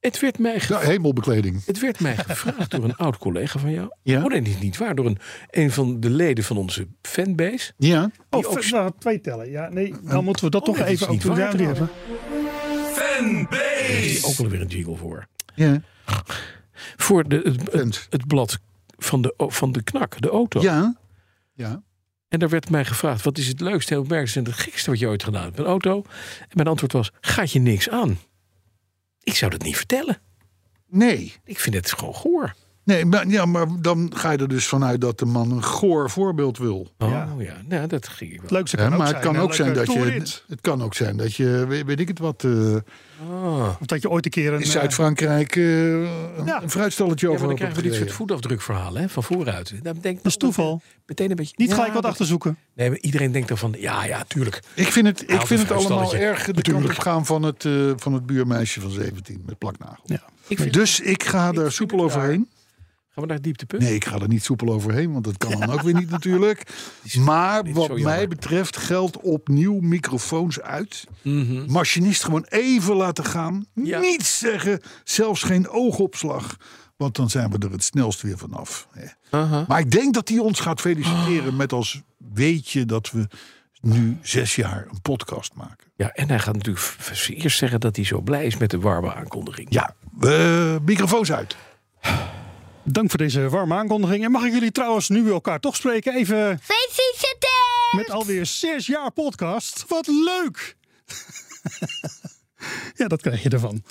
Het werd mij, ge- ja, hemelbekleding. het werd mij gevraagd door een oud collega van jou. Ja. Oh nee, dit is niet waar. Door een, een van de leden van onze fanbase. Ja. oh, ver- nou, twee tellen. Ja, nee, dan moeten we dat Oh, toch nee, dat is even ook niet doen. waar Ja, die trouwens. hebben. Er is ook alweer een jingle voor. Ja. Voor de, het, het, Fans. het blad van de, o- van de knak, de auto. Ja. ja. En daar werd mij gevraagd: wat is het leukste, heel merkste en het gekste wat je ooit gedaan hebt met een auto? En mijn antwoord was: gaat je niks aan? Ik zou dat niet vertellen. Nee. Ik vind het gewoon goor. Nee, maar, ja, maar dan ga je er dus vanuit dat de man een goor voorbeeld wil. Oh ja, Ja. nou, dat ging ik wel. Het leukste Hè, kan ook maar zijn. het kan een ook zijn leuke dat je. toerrit. Het kan ook zijn dat je. Weet, weet ik het wat. eh, Of dat je ooit een keer een... in eh, Zuid-Frankrijk. eh, een, Ja. een fruitstalletje Ja, maar over dan hebt krijgen we dit soort gereden. voetafdrukverhalen hè, van vooruit. Dan denk Dat is toeval. Meteen een beetje. Niet Ja, gelijk wat dat- achterzoeken. Nee, maar iedereen denkt dan van: ja, ja, tuurlijk. Ik vind het, ik Houd vind een het allemaal fruitstalletje. erg de kant op gaan van het, eh, van het buurmeisje van 17 met plaknagel. Ja. Ik vind, Dus ik ga daar vind soepel het raar. overheen. gaan we naar het dieptepunt? Nee, ik ga er niet soepel overheen, want dat kan dan ook weer niet natuurlijk. Maar niet wat zo mij jammer. betreft geldt opnieuw microfoons uit. Machinist gewoon even laten gaan. Mhm. Ja. Niets zeggen, zelfs geen oogopslag. Want dan zijn we er het snelst weer vanaf. hè. Maar ik denk dat hij ons gaat feliciteren met als weetje dat we nu zes jaar een podcast maken. Ja, en hij gaat natuurlijk v- v- eerst zeggen dat hij zo blij is met de warme aankondiging. Ja, we microfoons uit. Dank voor deze warme aankondiging. En mag ik jullie trouwens, nu we elkaar toch spreken, even met alweer zes jaar podcast. Wat leuk! ja, dat krijg je ervan.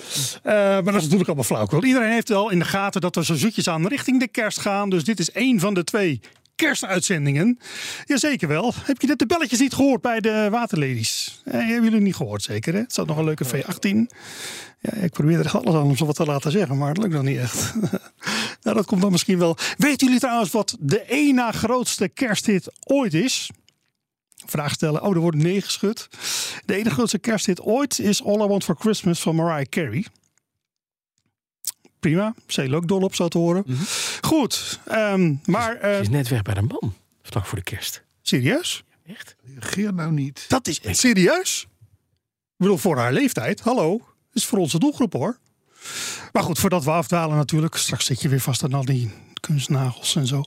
Eh, maar dat is natuurlijk allemaal flauwkul. Iedereen heeft wel in de gaten dat we zo zoetjes aan richting de kerst gaan. Dus dit is één van de twee kerstuitzendingen. Jazeker wel. Heb je net de belletjes niet gehoord bij de waterladies? Eh, hebben jullie niet gehoord zeker, hè? Het zat nog een leuke V18. Ja, ik probeer er echt alles aan om ze wat te laten zeggen, maar het lukt dan niet echt. nou, dat komt dan misschien wel. Weten jullie trouwens wat de één na grootste kersthit ooit is? vraag stellen. Oh, er wordt neergeschud. De enige grootste kersthit ooit is All I Want for Christmas van Mariah Carey. Prima. Zee ook dol op, zo te horen. Goed. ehm, maar eh, Ze is net weg bij de man, vlak voor de kerst. serieus? Echt? Reageer nou niet. Dat is serieus? Ik bedoel, voor haar leeftijd. Hallo. is voor onze doelgroep hoor. Maar goed, voordat we afdalen natuurlijk. Straks zit je weer vast aan al die kunstnagels en zo.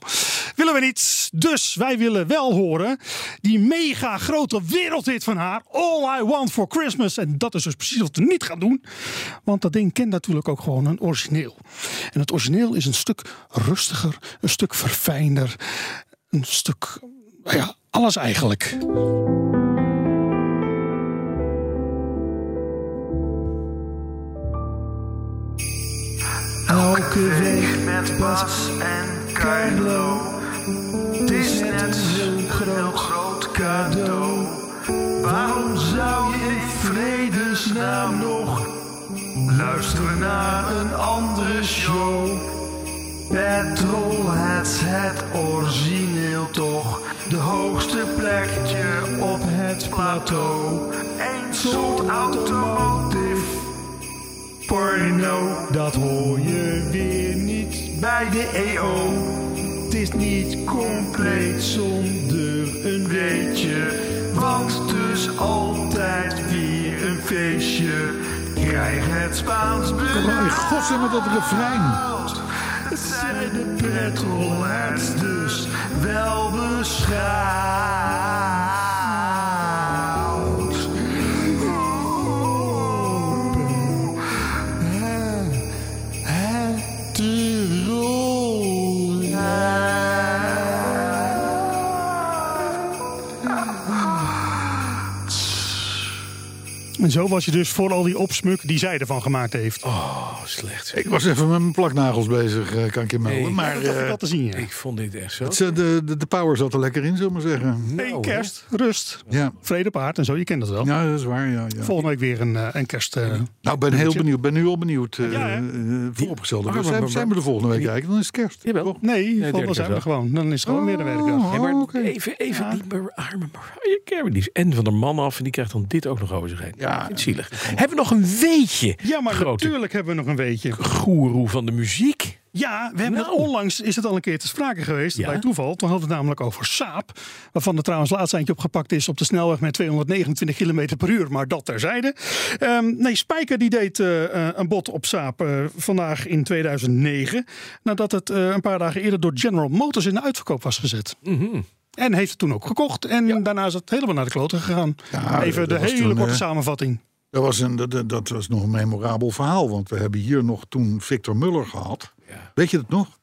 Willen we niet. Dus wij willen wel horen die mega grote wereldhit van haar. All I Want For Christmas. En dat is dus precies wat we niet gaan doen. Want dat ding kent natuurlijk ook gewoon een origineel. En het origineel is een stuk rustiger, een stuk verfijnder. Een stuk, nou ja, alles eigenlijk. Elke week met Bas en Carlo. Het is net zo'n groot, groot cadeau. Waarom zou je in vredesnaam nog luisteren naar een andere show? Petrolheads, het origineel toch. De hoogste plekje op het plateau. Eén soort automotive. Porno, dat hoor je weer niet bij de EO. Het is niet compleet zonder een weetje. Want het is altijd weer een feestje. Krijg het Spaans Maar Oh, in beloofd. godsnaam met dat refrein. Het zijn de petrolheads dus wel beschouwd. Open, hè, hè, En zo was je dus voor al die opsmuk die zij ervan gemaakt heeft. Oh, slecht. zeg. Ik was even met mijn plaknagels bezig, eh, kan ik je melden. Nee. Maar dat, eh, dat te zien, ja. Ik vond dit echt zo. het, eh, de, de, de power zat er lekker in, zullen we maar zeggen. nou, Hey, kerst, rust, Ja. vrede paard en zo, je kent dat wel. ja, dat is waar. Ja, ja. Volgende week weer een, eh, een kerst... eh, Nou, ik ben heel benieuwd. Ben nu al benieuwd. eh Ja, hè? eh, vooropgestelde. Die- zijn, zijn we de volgende week kijken? Dan is het kerst. Jawel. toch? Nee, derde volgende zijn we kerstdag. gewoon. Dan is het gewoon weer een werkdag. Nee, maar Oh, oké. even, even die Mar- arme Mariah Carey. Die is en van de man af en die krijgt dan dit ook nog over zich heen. Ja. Ja, zielig. Hebben we nog een weetje? Ja, maar grote natuurlijk hebben we nog een weetje. goeroe van de muziek. Ja, we hebben Nou. het onlangs is het al een keer te sprake geweest. Ja. Bij toeval. Toen hadden we het namelijk over Saap. Waarvan er trouwens laatst eindje opgepakt is op de snelweg met 229 km per uur. Maar dat terzijde. Ehm, nee, Spijker die deed eh, eh, een bod op Saap eh, vandaag in 2009. Nadat het eh, een paar dagen eerder door General Motors in de uitverkoop was gezet. Mhm. En heeft het toen ook gekocht. En daarna is het helemaal naar de kloten gegaan. Ja, Even de dat was hele toen, korte eh, samenvatting. Dat was, een, dat- dat, dat was nog een memorabel verhaal. Want we hebben hier nog toen Victor Muller gehad. Weet je dat nog?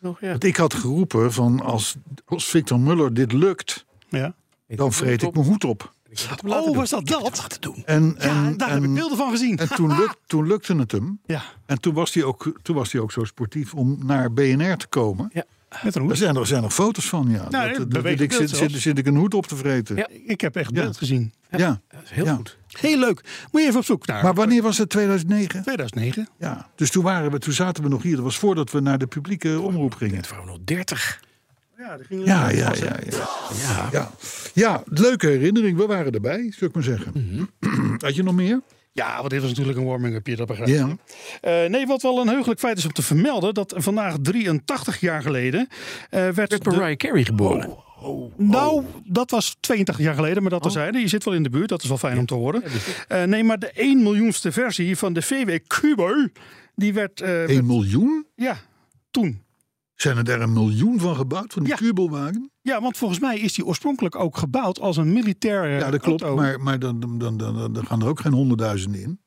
Nog, ja. Want ik had geroepen van als, als Victor Muller dit lukt, Ja. dan vreet ik mijn hoed op. Oh, was dat dat? En, Ja, en, daar en, heb ik beelden van gezien. en toen, luk, toen lukte het hem. Ja, En toen was, hij ook, toen was hij ook zo sportief om naar BNR te komen. met een Er hoed. zijn, er zijn nog foto's van, ja. nee, dat, dat- beweegbeeld ik zit, zit, zelfs. zit ik een hoed op te vreten. Ja. Ja. Ik heb echt Ja. beeld gezien. Dat is heel Ja. goed. Heel leuk. Moet je even op zoek naar. Maar wanneer was het? 2009? 2009. Ja. Dus toen, waren we, toen zaten we nog hier. Dat was voordat we naar de publieke omroep gingen. Het waren nog 30. Ja, dat Ja, ja, ja. Ja, Ja. ja. ja leuke herinnering. We waren erbij, zou ik maar zeggen. Had je nog meer? ja, want dit was natuurlijk een warming-upje, dat begrijp ik. Ja. Eh, nee, wat wel een heugelijk feit is om te vermelden... dat vandaag 83 jaar geleden eh, werd... Werd de- Mariah Carey geboren. Nou, dat was 82 jaar geleden, maar dat Oh. terzijde. Je zit wel in de buurt, dat is wel fijn om te horen. Eh, nee, maar de 1 miljoenste versie van de VW Kubo... die werd... eh, werd- 1 miljoen? ja, toen. Zijn er daar een miljoen van gebouwd, van die Ja. kurbelwagen? Ja, want volgens mij is die oorspronkelijk ook gebouwd als een militair eh, Ja, dat klopt. auto. Maar, maar dan, dan, dan, dan, dan gaan er ook geen honderdduizenden in.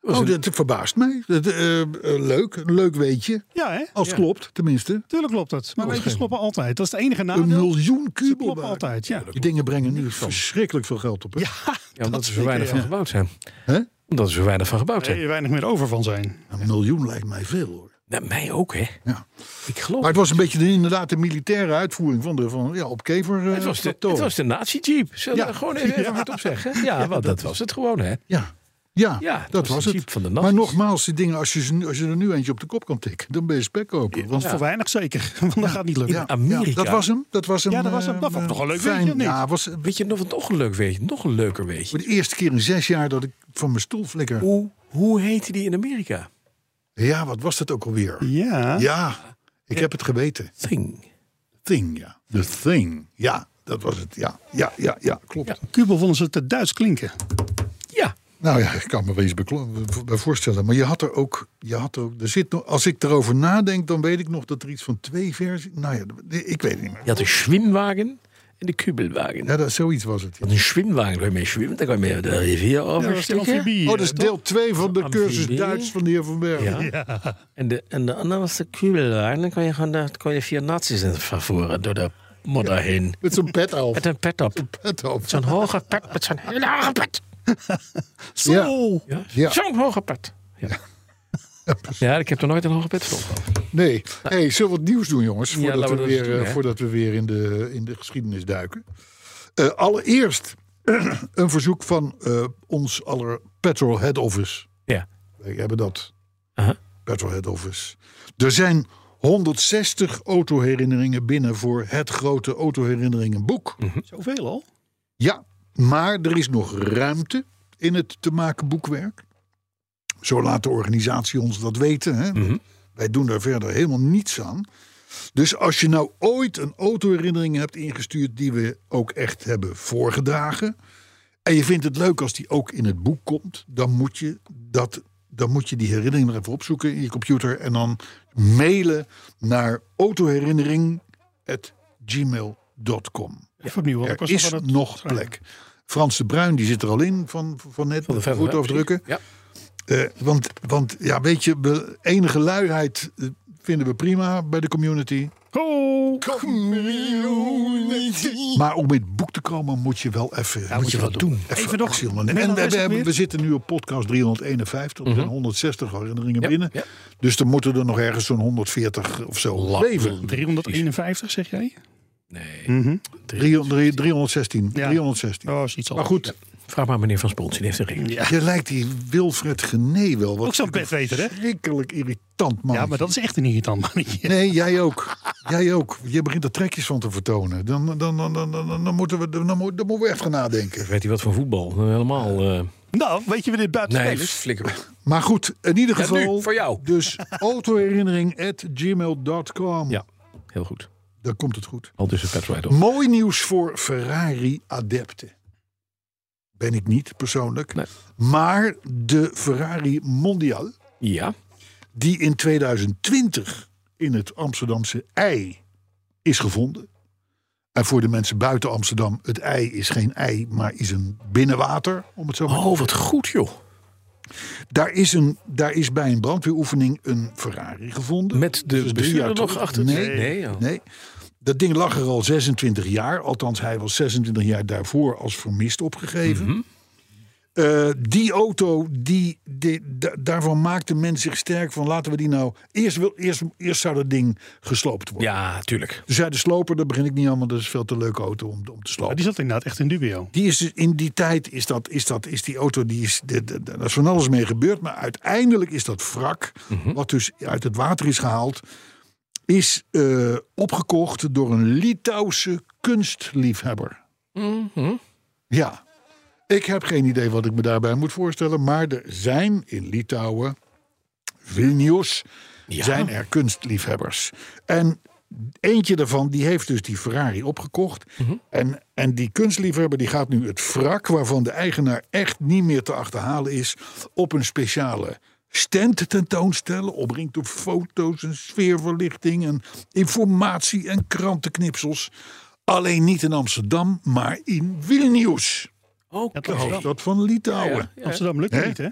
was Oh, een- dat verbaast mij. Dat, eh, eh, leuk, een leuk weetje. Ja, hè? Als het klopt, tenminste. Tuurlijk klopt dat. Maar weetjes kloppen altijd. Dat is het enige Een nadeel. miljoen Ze kloppen kubelwagen. altijd, ja. Die dingen brengen nu verschrikkelijk veel geld op. Hè? Ja, omdat er zo weinig van gebouwd zijn. Hè? Omdat er zo weinig van gebouwd Daar zijn. je weinig meer over van zijn. Een miljoen lijkt mij veel hoor. Nou, mij ook, hè. Ja. Ik geloof Maar het was een beetje de, inderdaad de militaire uitvoering van de van, ja, op kever. eh, Het was de, plateau. het was de nazi-jeep. Zullen we Ja. daar gewoon even even hardop zeggen? Ja, want dat was het gewoon, hè? Ja, ja, Ja, dat, het was was de het. jeep van de maar nazi's. nogmaals, die dingen, als je, ze nu- als je er nu eentje op de kop kan tikken, dan ben je spekkoper. Want Voor weinig zeker. Want dat gaat niet lukken. ja, Amerika. ja, dat was hem. Dat was hem. Ja, dat was hem. eh, Dat vond ik eh, toch een leuk fijn. weetje, of niet? Ja, was eh, Weet je nog wat nog een leuk weetje? Nog een leuker weetje. voor de eerste keer in zes jaar dat ik van mijn stoel flikker. Hoe, hoe heette die in Amerika? Ja, wat was dat ook alweer? Ja. Ja, ik heb het geweten. Thing. Thing, ja. The Thing. Ja, dat was het. Ja, ja, ja, ja klopt. Ja. Kubel vonden ze te Duits klinken. Ja. Nou ja, ik kan me wel eens beklo- bij voorstellen. Maar je had er ook. Je had er ook er zit nog, als ik erover nadenk, dan weet ik nog dat er iets van twee versies. Nou ja, ik weet het niet meer. Je had de Schwimmwagen en de Kubelwagen. Ja, dat, zoiets was het. ja. Want een Schwimmwagen, daar kan je mee zwemmen, daar kan je mee de rivier Ja, dat is die oversteken. amfibie, Oh, dat eh, is toch? deel 2 van de Amfibie. cursus Duits van de heer Van Berg. Ja. En, de, en de andere was de Kubelwagen, dan kon je, gewoon de, kon je vier nazi's in- van voren door de modder heen. Met zo'n pet af. Met een pet op. Pet af. Zo'n hoge pet, met zo'n hele hoge pet. Zo! Ja. Ja. Zo'n hoge pet. Ja. ja, ik heb er nooit een hoge pet voor gehad. Nee. Hey, zullen we wat nieuws doen, jongens? Voordat, laten we, we dat weer, eens doen, eh, hè? voordat we weer in de, in de geschiedenis duiken. Eh, allereerst een verzoek van eh, ons aller Petrol Head Office. Ja. Uh-huh. Wij hebben dat. Aha. Petrol Head Office. Er zijn 160 autoherinneringen binnen voor het grote autoherinneringenboek. Zoveel al? Ja, maar er is nog ruimte in het te maken boekwerk. Zo laat de organisatie ons dat weten. Hè? Wij doen daar verder helemaal niets aan. Dus als je nou ooit een autoherinnering hebt ingestuurd die we ook echt hebben voorgedragen. En je vindt het leuk als die ook in het boek komt, dan moet je, dat, dan moet je die herinnering nog even opzoeken in je computer. En dan mailen naar autoherinnering.gmail.com. Even opnieuw, want ik Er was is nog aan het nog schrijven. plek. Frans de Bruin die zit er al in van, van net. Van de verder, goed hè, afdrukken. precies. Eh, want, want ja, weet je, we- enige luiheid eh, vinden we prima bij de community. Oh, Maar om in het boek te komen moet je wel even. moet je wat doen. Even, Even nog- actie ondernemen. En Menno, we, is het hebben- weer? we zitten nu op podcast 351. Er zijn 160 herinneringen Mhm. Ja, binnen. ja. Dus er moeten er nog ergens zo'n 140 of zo leven. 351 zeg jij? Nee. 300, 316. Ja. 316. Oh, is iets al. Maar goed, Vraag maar meneer Van Spons, die heeft een ring. je lijkt die Wilfred Genee wel. Wat Ook zo'n bedweter, hè? Schrikkelijk irritant, man. Ja, maar dat is echt een irritant mannetje. Nee, jij ook. Jij ook. Je begint er trekjes van te vertonen. Dan, dan, dan, dan, dan, dan moeten we, dan, moet- dan moeten we echt gaan nadenken. Weet hij wat van voetbal? Helemaal. eh, Nou, weet je wie dit buiten nee, dus spel is? flikker. weg. Maar goed, in ieder Ja, geval. nu, voor jou. Dus autoherinnering.gmail.com. Ja, heel goed. Daar komt het goed. Al dus een petrolhead op. Mooi nieuws voor Ferrari-adepten. Ben ik niet persoonlijk. Nee. Maar de Ferrari Mondial, Ja. die in 2020 in het Amsterdamse ei is gevonden. En voor de mensen buiten Amsterdam, het ei is geen ei, maar is een binnenwater, om het zo maar Oh, wat goed joh. Daar is, een, daar is bij een brandweeroefening een Ferrari gevonden. Met de Dus drie bestuurder jaar nog terug. achter? Nee, Nee, oh. nee, joh. Dat ding lag er al 26 jaar. Althans, hij was 26 jaar daarvoor als vermist opgegeven. Mhm. Eh, die auto, die, die- da- daarvan maakte men zich sterk van laten we die nou... Eerst, wil, eerst, eerst zou dat ding gesloopt worden. Ja, tuurlijk. Toen zei de sloper, daar begin ik niet aan, want dat is veel te leuke auto om, om te Maar slopen. die zat inderdaad echt in dubio. Die is dus in die tijd is dat, is dat is die auto die is de- de- daar is van alles mee gebeurd, maar uiteindelijk is dat wrak wat dus uit het water is gehaald, is eh, opgekocht door een Litouwse kunstliefhebber. Ja, ik heb geen idee wat ik me daarbij moet voorstellen, maar er zijn in Litouwen, Vilnius, zijn er kunstliefhebbers. En eentje daarvan die heeft dus die Ferrari opgekocht. en, en die kunstliefhebber die gaat nu het wrak, waarvan de eigenaar echt niet meer te achterhalen is, op een speciale stand tentoonstellen. Omringd door foto's en sfeerverlichting en informatie en krantenknipsels. Alleen niet in Amsterdam, maar in Vilnius. Oh. Oké. dat is wel. Dat van Litouwen. Amsterdam lukt Hè? niet, hè?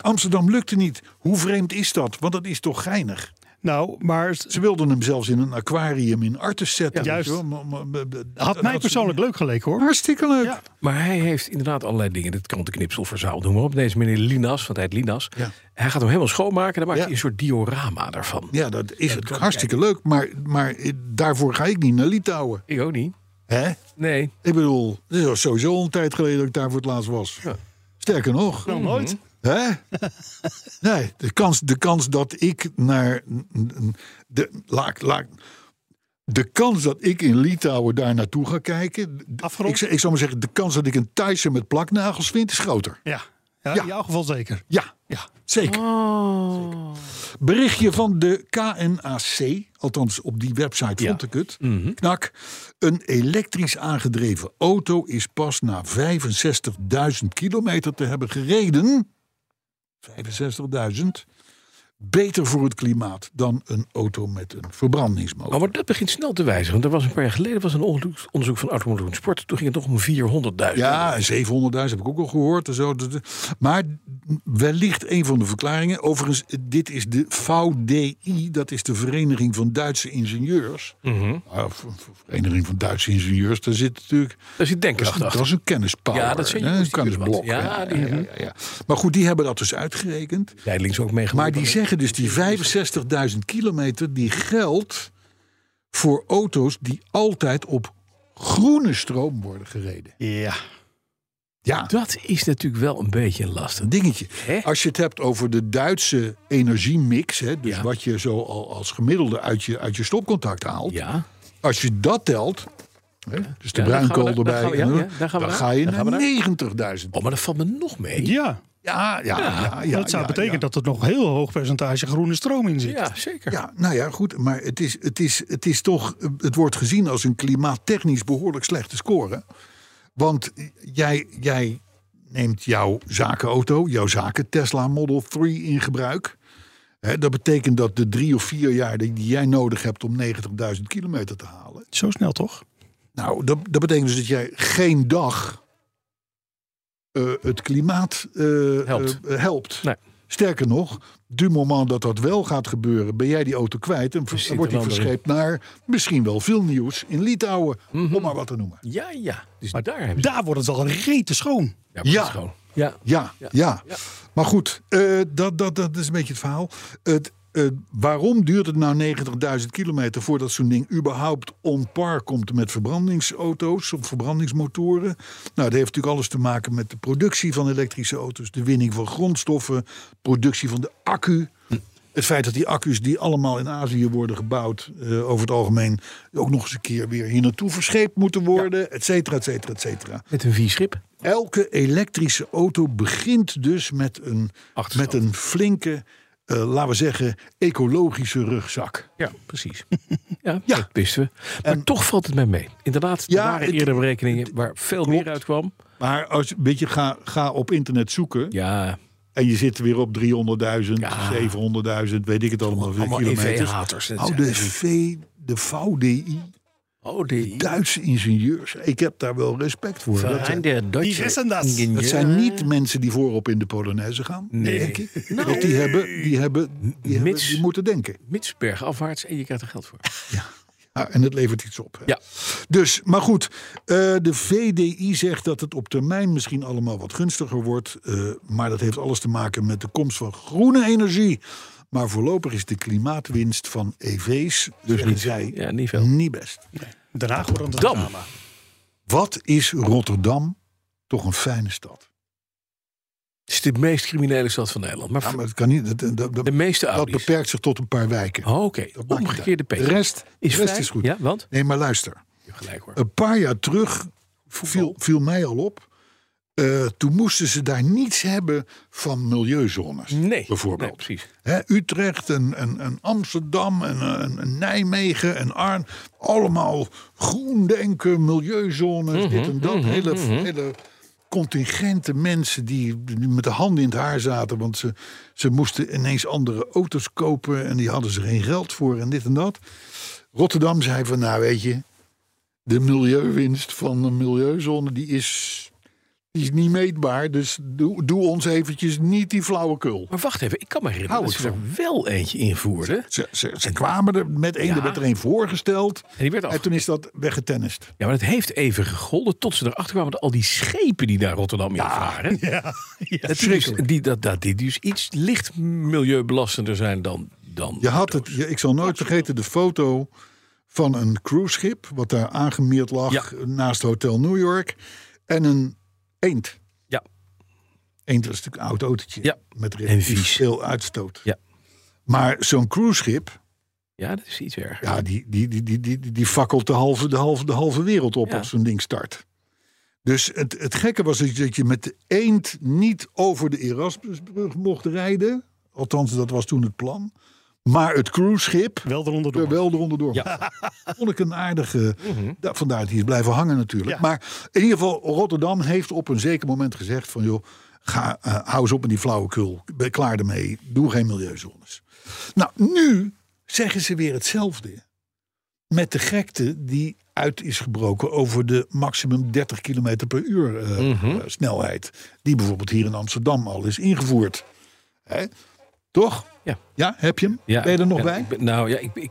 Amsterdam lukte niet. Hoe vreemd is dat? Want dat is toch geinig? Nou, maar Ze wilden hem zelfs in een aquarium in Artes zetten. Ja, weet je juist. wel. Maar- maar- maar- dat had mij ze- persoonlijk leuk geleken, hoor. Hartstikke leuk. Ja. Maar hij heeft inderdaad allerlei dingen. Dit krantenknipsel verzaald, noem maar op. Deze meneer Linas, want hij heet Linas. Ja. Hij gaat hem helemaal schoonmaken. Dan maakt Ja. hij een soort diorama daarvan. Ja, dat is het. Hartstikke leuk. Maar, maar eh, daarvoor ga ik niet naar Litouwen. Ik ook niet. Hè? Nee. Ik bedoel, het is al sowieso al een tijd geleden dat ik daar voor het laatst was. Sterker nog. Nou, nooit. Hè? nee, de kans, de kans dat ik naar. De, laat, laat, de kans dat ik in Litouwen daar naartoe ga kijken. d- Afgerond. Ik, zou- ik zou maar zeggen, de kans dat ik een Thaise met plaknagels vind, is groter. Ja. Ja, Ja. In jouw geval zeker. Ja, Ja. zeker. Berichtje van de KNAC, althans op die website vond ik het. Knak. Een elektrisch aangedreven auto is pas na 65.000 kilometer te hebben gereden. 65.000. Beter voor het klimaat dan een auto met een verbrandingsmotor. Oh, maar dat begint snel te wijzigen. Want er was een paar jaar geleden was een ongeluk- onderzoek van Automobiel en Sport. Toen ging het nog om 400.000. Ja, en 700.000 heb ik ook al gehoord. En zo. Dat- dat- Maar wellicht een van de verklaringen. Overigens, dit is de VDI, dat is de Vereniging van Duitse Ingenieurs. Mhm. Nou, v- v- Vereniging van Duitse Ingenieurs, daar zit natuurlijk. Daar zit denkers Dat achter. is een kennispower. Ja, dat zijn hè, jongens een die kunnen kennisblok. wat. Ja, die- ja, ja, ja. Maar goed, die hebben dat dus uitgerekend. Zijdelings ook meegelopen. Maar die zeggen dus die 65.000 kilometer die geldt voor auto's die altijd op groene stroom worden gereden. Ja. Ja, Dat is natuurlijk wel een beetje lastig. een dingetje. Hè? Als je het hebt over de Duitse energiemix, hè, dus Ja. wat je zo al als gemiddelde uit je, uit je stopcontact haalt. Ja. Als je dat telt, hè, dus de Ja, daar gaan bruinkool we- daar erbij, gaan we- ja, en, ja, daar gaan we dan naar. ga je Daar gaan we naar naar. 90.000. Oh, maar dat valt me nog mee. Ja. Ja, ja, ja. ja, dat zou ja, betekenen ja. dat er nog een heel hoog percentage groene stroom in zit. Ja, zeker. Ja, nou ja, goed, maar het is, het is, het is toch, het wordt gezien als een klimaattechnisch behoorlijk slechte score. Want jij, jij neemt jouw zakenauto, jouw zaken Tesla Model 3 in gebruik. Hè, dat betekent dat de drie of vier jaar die die jij nodig hebt om 90.000 kilometer te halen. Zo snel toch? Nou, dat, dat betekent dus dat jij geen dag eh, het klimaat eh, Helpt. eh, helpt. Nee. Sterker nog, du moment dat dat wel gaat gebeuren, ben jij die auto kwijt en zit ver- er wordt die wel verscheept naar misschien wel veel nieuws in Litouwen, Mhm. om maar wat te noemen. Ja, ja. Dus daar hebben ze... Daar wordt het al rete schoon. Ja. maar dat is Ja. gewoon- oh. ja. Ja, ja. Maar goed, eh, dat, dat, dat is een beetje het verhaal. Het, eh, waarom duurt het nou 90.000 kilometer voordat zo'n ding überhaupt on par komt met verbrandingsauto's of verbrandingsmotoren? Nou, dat heeft natuurlijk alles te maken met de productie van elektrische auto's, de winning van grondstoffen, productie van de accu. Het feit dat die accu's die allemaal in Azië worden gebouwd, eh, over het algemeen ook nog eens een keer weer hier naartoe verscheept moeten worden, et cetera, et cetera, et cetera. Met een V-schip. Elke elektrische auto begint dus met een, Achterstand. met een flinke, eh, laten we zeggen, ecologische rugzak. Ja, precies. Ja, Ja. Ehm, dat wisten we. Maar toch valt het mij mee. Inderdaad, er Ja, waren het- eerder berekeningen waar veel meer uitkwam. Maar als weet je, ga, ga op internet zoeken Ja, en je zit weer op 300.000, 700.000, weet ik het allemaal, weer allemaal E kilometers. EV-haters. Nou, de V, de VDI, Oh, die... Duitse ingenieurs, ik heb daar wel respect voor. Dat zijn, de Die wissen dat. dat zijn niet mensen die voorop in de Polonaise gaan. Nee. Denk ik. Want die hebben, die hebben, die hebben, Mits- die moeten denken. Mitsberg afwaarts en je krijgt er geld voor. Ja, en het levert iets op. Hè? Ja. Dus, maar goed, eh, de VDI zegt dat het op termijn misschien allemaal wat gunstiger wordt. eh, maar dat heeft alles te maken met de komst van groene energie. Maar voorlopig is de klimaatwinst van EV's, dus niet zij, Ja, niet veel. niet best. Daarna wordt het Dam. drama. Wat is Rotterdam toch een fijne stad? Het is de meest criminele stad van Nederland. Maar, Ja, maar het kan niet, dat, dat- dat- de meeste dat Audi's. beperkt zich tot een paar wijken. Oh, Oké, Dat maakt niet omgekeerde P. uit. De rest, is, de rest vrij. is goed. Ja, want? Nee, maar luister. Je hebt gelijk hoor. Een paar jaar terug viel, viel mij al op. eh, toen moesten ze daar niets hebben van milieuzones. nee. Bijvoorbeeld. Nee, precies. Hè, Utrecht en, en, en Amsterdam en, eh, en, en Nijmegen en Arn. Allemaal groen denken, milieuzones, dit en dat. hele, hele contingente mensen die, die met de handen in het haar zaten. Want ze, ze moesten ineens andere auto's kopen en die hadden ze geen geld voor en dit en dat. Rotterdam zei van, nou weet je, de milieuwinst van een milieuzone die is, die is niet meetbaar. Dus doe, doe ons eventjes niet die flauwekul. Maar wacht even, ik kan me herinneren Hou dat ik ze er wel eentje invoerden. Ze, ze, ze kwamen er met één, Ja. er werd er één voorgesteld. En die werd af. En toen is dat weggetennist. Ja, maar het heeft even gegolden tot ze erachter kwamen... dat al die schepen die naar Rotterdam in varen... Ja. ja. dat die, dus, die, dat, dat die dus iets licht milieubelastender zijn dan... dan Je had het, je- ik zal nooit vergeten de foto van een cruiseschip... wat daar aangemeerd lag Ja. naast Hotel New York. En een eend. Ja. Eend was natuurlijk een oud autootje. Ja. Met En vies. relatief veel uitstoot. Ja. Maar zo'n cruiseschip, ja, dat is iets erger. ja, die, die, die, die, die, die fakkelt de halve, de, halve, de halve wereld op Ja. als zo'n ding start. Dus het, het gekke was dat je- dat je met de eend niet over de Erasmusbrug mocht rijden. Althans, dat was toen het plan. Maar het cruiseschip Wel eronder door. er wel eronder door. Vond ik een aardige. da- Vandaar dat hij is blijven hangen natuurlijk. Ja. Maar in ieder geval, Rotterdam heeft op een zeker moment gezegd: van joh, ga, eh, hou eens op met die flauwekul. Ben klaar ermee. Doe geen milieuzones. Nou, nu zeggen ze weer hetzelfde. Met de gekte die uit is gebroken over de maximum 30 km per uur eh, eh, snelheid. Die bijvoorbeeld hier in Amsterdam al is ingevoerd. Hè? Toch? Ja. Ja, heb je hem? Ja, ben je er nog ja, bij? ik ben- nou ja, ik, ik,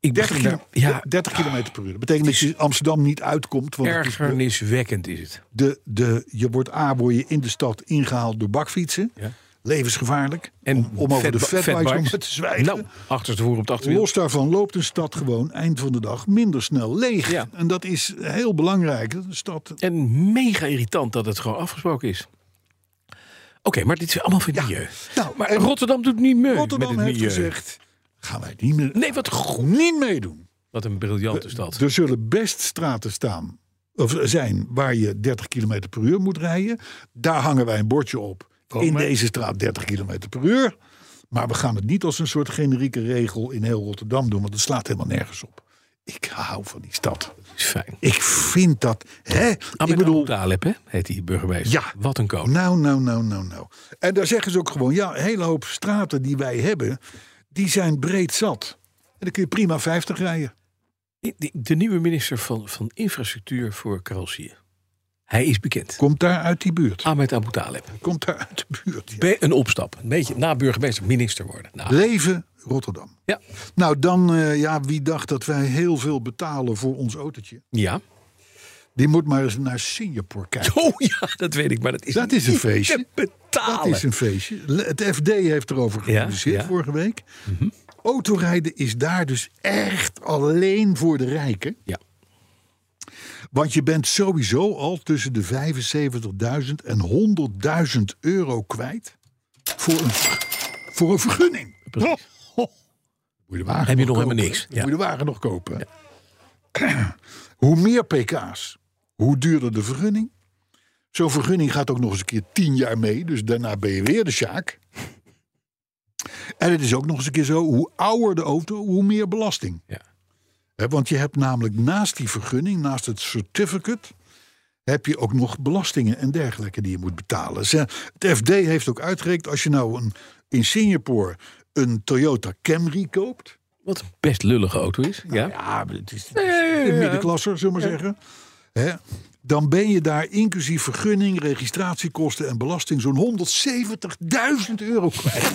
ik 30, begin kilo, daar- ja, 30 km per uur. Dat betekent dat je Amsterdam niet uitkomt. Want het is de, ergerniswekkend is het. de, de, je wordt A, word je in de stad ingehaald door bakfietsen. Ja. Levensgevaarlijk. En om, om over de fatbi- fatbikes om fatbikes. het te zwijgen. Nou, achterstevoren op het achterwiel. Los daarvan loopt een stad gewoon eind van de dag minder snel leeg. Ja. En dat is heel belangrijk. Een stad En mega irritant dat het gewoon afgesproken is. Oké, maar dit is allemaal voor het milieu. Nou, maar en Rotterdam doet niet mee Rotterdam met het heeft milieu. gezegd, gaan wij niet meer Nee, wat goed. niet meedoen. Wat een briljante stad. Er zullen best straten staan, of zijn, waar je 30 km per uur moet rijden. Daar hangen wij een bordje op. in maar- deze straat 30 km per uur. Maar we gaan het niet als een soort generieke regel in heel Rotterdam doen, want het slaat helemaal nergens op. Ik hou van die stad. is fijn. Ik vind dat. Hè? Ik Ahmed bedoel, Taleb, hè, heet die burgemeester. Ja. Wat een koning. nou, nou, nou, nou, nou. En daar zeggen ze ook gewoon, ja, een hele hoop straten die wij hebben, die zijn breed zat. En dan kun je prima 50 rijden. De, de nieuwe minister van, van Infrastructuur voor Carrossië. Hij is bekend. Komt daar uit die buurt. Ahmed Abu Taleb. Komt daar uit de buurt. ja. Be- Een opstap. Een beetje na burgemeester, minister worden. Nou, Leven Rotterdam. ja. Nou, dan, eh, ja, wie dacht dat wij heel veel betalen voor ons autootje? ja. Die moet maar eens naar Singapore kijken. Oh ja, dat weet ik, maar dat is, Dat is een niet feestje. te betalen. Dat is een feestje. Le- Het FD heeft erover gepubliceerd Ja, Mhm. ja. vorige week. Autorijden is daar dus echt alleen voor de rijken. Ja. Want je bent sowieso al tussen de 75.000 en 100.000 euro kwijt voor een, voor een vergunning. Precies. Moet je de wagen Heb je nog kopen, helemaal niks, hè? ja. Moet je de wagen nog kopen. hoe meer pk's, hoe duurder de vergunning. Zo'n vergunning gaat ook nog eens een keer tien jaar mee. Dus daarna ben je weer de sjaak. En het is ook nog eens een keer zo. Hoe ouder de auto, hoe meer belasting. Ja. Hè, want je hebt namelijk naast die vergunning, naast het certificate... heb je ook nog belastingen en dergelijke die je moet betalen. Ze- Het FD heeft ook uitgerekend... als je nou een, in Singapore een Toyota Camry koopt... Wat een best lullige auto is. ja. Nou Ja, maar het is, het is een middenklasser, zullen we maar zeggen. Hè? Dan ben je daar inclusief vergunning, registratiekosten en belasting zo'n 170.000 euro kwijt.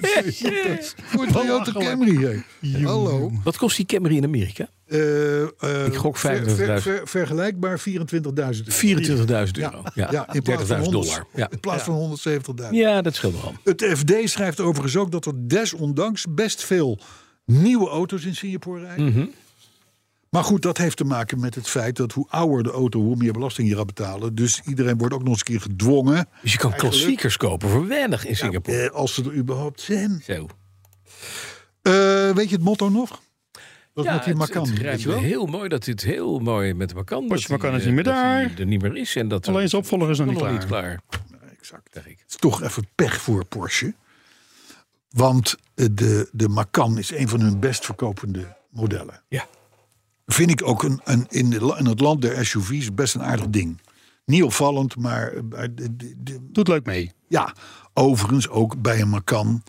Dat is Voor een Toyota Camry. hè. Hallo. Wat kost die Camry in Amerika? Eh, eh, Ik gok ver- 25.000. ver- ver- vergelijkbaar 24.000 24.000 euro. euro. Ja, ja, in plaats van 30.000 100 dollar. Ja. In plaats van 170.000. ja, dat scheelt wel. Het FD schrijft overigens ook dat er desondanks best veel nieuwe auto's in Singapore rijden. Mhm. Maar goed, dat heeft te maken met het feit dat hoe ouder de auto, hoe meer belasting je gaat betalen. Dus iedereen wordt ook nog eens een keer gedwongen, Dus je kan klassiekers kopen voor weinig in Singapore. eh, als ze er überhaupt zijn. Zo. Eh, weet je het motto nog? Dat Ja, met die het- Macan, het rijmt weet je wel? heel mooi dat dit heel mooi met de Macan. Potje dat Macan die, is niet meer eh, dat die daar. er niet meer is. En dat er- Alleen zijn opvolger is nog niet nog klaar. niet klaar. Exact. Zeg ik. Het is toch even pech voor Porsche. Want eh, de, de Macan is een van hun best verkopende modellen. Ja. Vind ik ook een, een, in, de la- in het land der SUV's best een aardig ding. Niet opvallend, maar eh, bij de- de- de- Doet leuk mee. ja, overigens ook bij een Macan.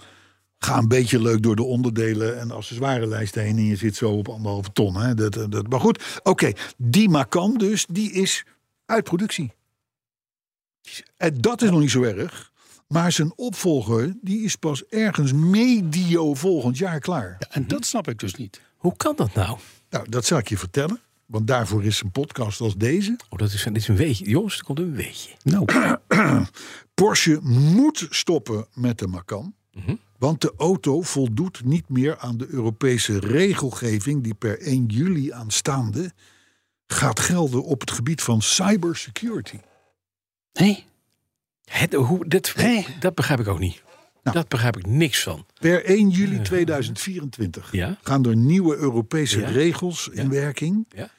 Ga een beetje leuk door de onderdelen en accessoirelijst heen. En je zit zo op anderhalve ton. Hè? Dat, eh, dat, maar goed, oké. Die Macan dus, die is uit productie. En dat is nog niet zo erg. Maar zijn opvolger, die is pas ergens medio volgend jaar klaar. En dat snap ik dus niet. Hoe kan dat nou? Nou, dat zal ik je vertellen. Want daarvoor is een podcast als deze. Oh, dat is, dit is een weetje. Jongens, er komt een weetje. Porsche moet stoppen met de Macan. Mhm. Want de auto voldoet niet meer aan de Europese regelgeving die per 1 juli aanstaande gaat gelden op het gebied van cybersecurity. Nee. Het, hoe, dat, Hé? dat begrijp ik ook niet. Nou. Dat begrijp ik niks van. Per 1 juli 2024 Ja. gaan er nieuwe Europese Ja. regels in werking. Ja.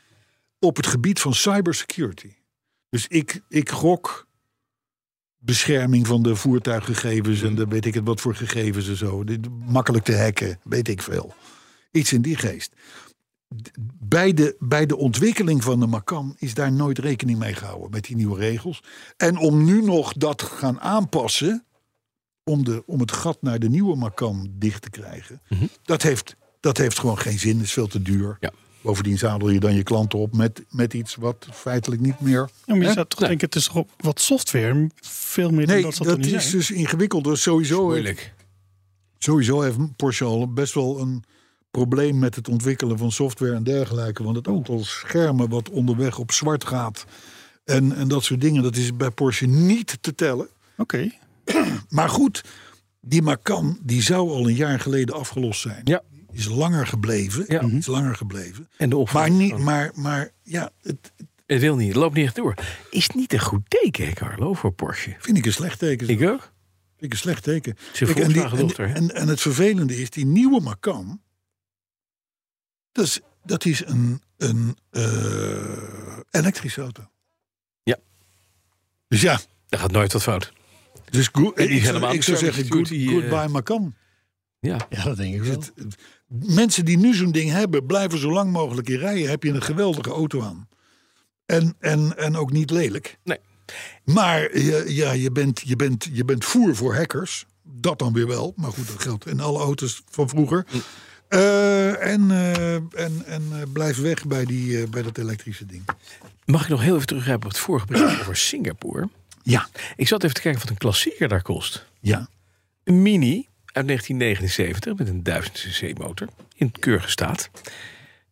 op het gebied van cybersecurity. Dus ik, ik gok bescherming van de voertuiggegevens en de weet ik het wat voor gegevens en zo. Dit, makkelijk te hacken, weet ik veel. Iets in die geest. D- Bij de, bij de ontwikkeling van de Macan is daar nooit rekening mee gehouden met die nieuwe regels. En om nu nog dat te gaan aanpassen, om, de, om het gat naar de nieuwe Macan dicht te krijgen, dat, heeft, dat heeft gewoon geen zin, is veel te duur. Ja. Bovendien zadel je dan je klanten op met, met iets wat feitelijk niet meer Ja, maar je Hè? zou toch denken, het is toch ook wat software. Veel meer Nee, dan dat dat, zal toch niet is zijn? dus ingewikkeld. Dus sowieso, heeft, Moeilijk. sowieso heeft Porsche al best wel een probleem met het ontwikkelen van software en dergelijke. Want het aantal schermen wat onderweg op zwart gaat en, en dat soort dingen, dat is bij Porsche niet te tellen. Oké. eh, Maar goed, die Macan die zou al een jaar geleden afgelost zijn. Ja. Is langer gebleven. Ja. Is langer gebleven. En Maar, de opvolger. niet, maar, maar ja, het Het wil niet, het loopt niet echt door. Is niet een goed teken, hè, Carlo, voor Porsche. vind ik een slecht teken. Ik ook. Vind ik een slecht teken. Ze Kijk, en, die- Volkswagen dochter, hè? en, en, en het vervelende is, die nieuwe Macan... Dat is, dat is een, een eh, elektrische auto. Ja. Dus ja, Daar gaat nooit wat fout. dus go- En die ik, helemaal zou, ik zou niet zeggen, goed, good, die, eh, goodbye Macan. Ja. Ja, dat denk ik wel. Het- het- mensen die nu zo'n ding hebben, blijven zo lang mogelijk in rijden. Heb je een geweldige auto aan. En, en, en ook niet lelijk. Nee. Maar eh, ja, je bent, je, bent, je bent voer voor hackers. Dat dan weer wel. Maar goed, dat geldt in alle auto's van vroeger. Eh, en eh, en, en eh, blijf weg bij, die, eh, bij dat elektrische ding. Mag ik nog heel even teruggrijpen op het vorige bericht over Singapore? Ja. Ik zat even te kijken wat een klassieker daar kost. Ja. Een Mini uit 1979 met een 1000 cc motor in keurige staat.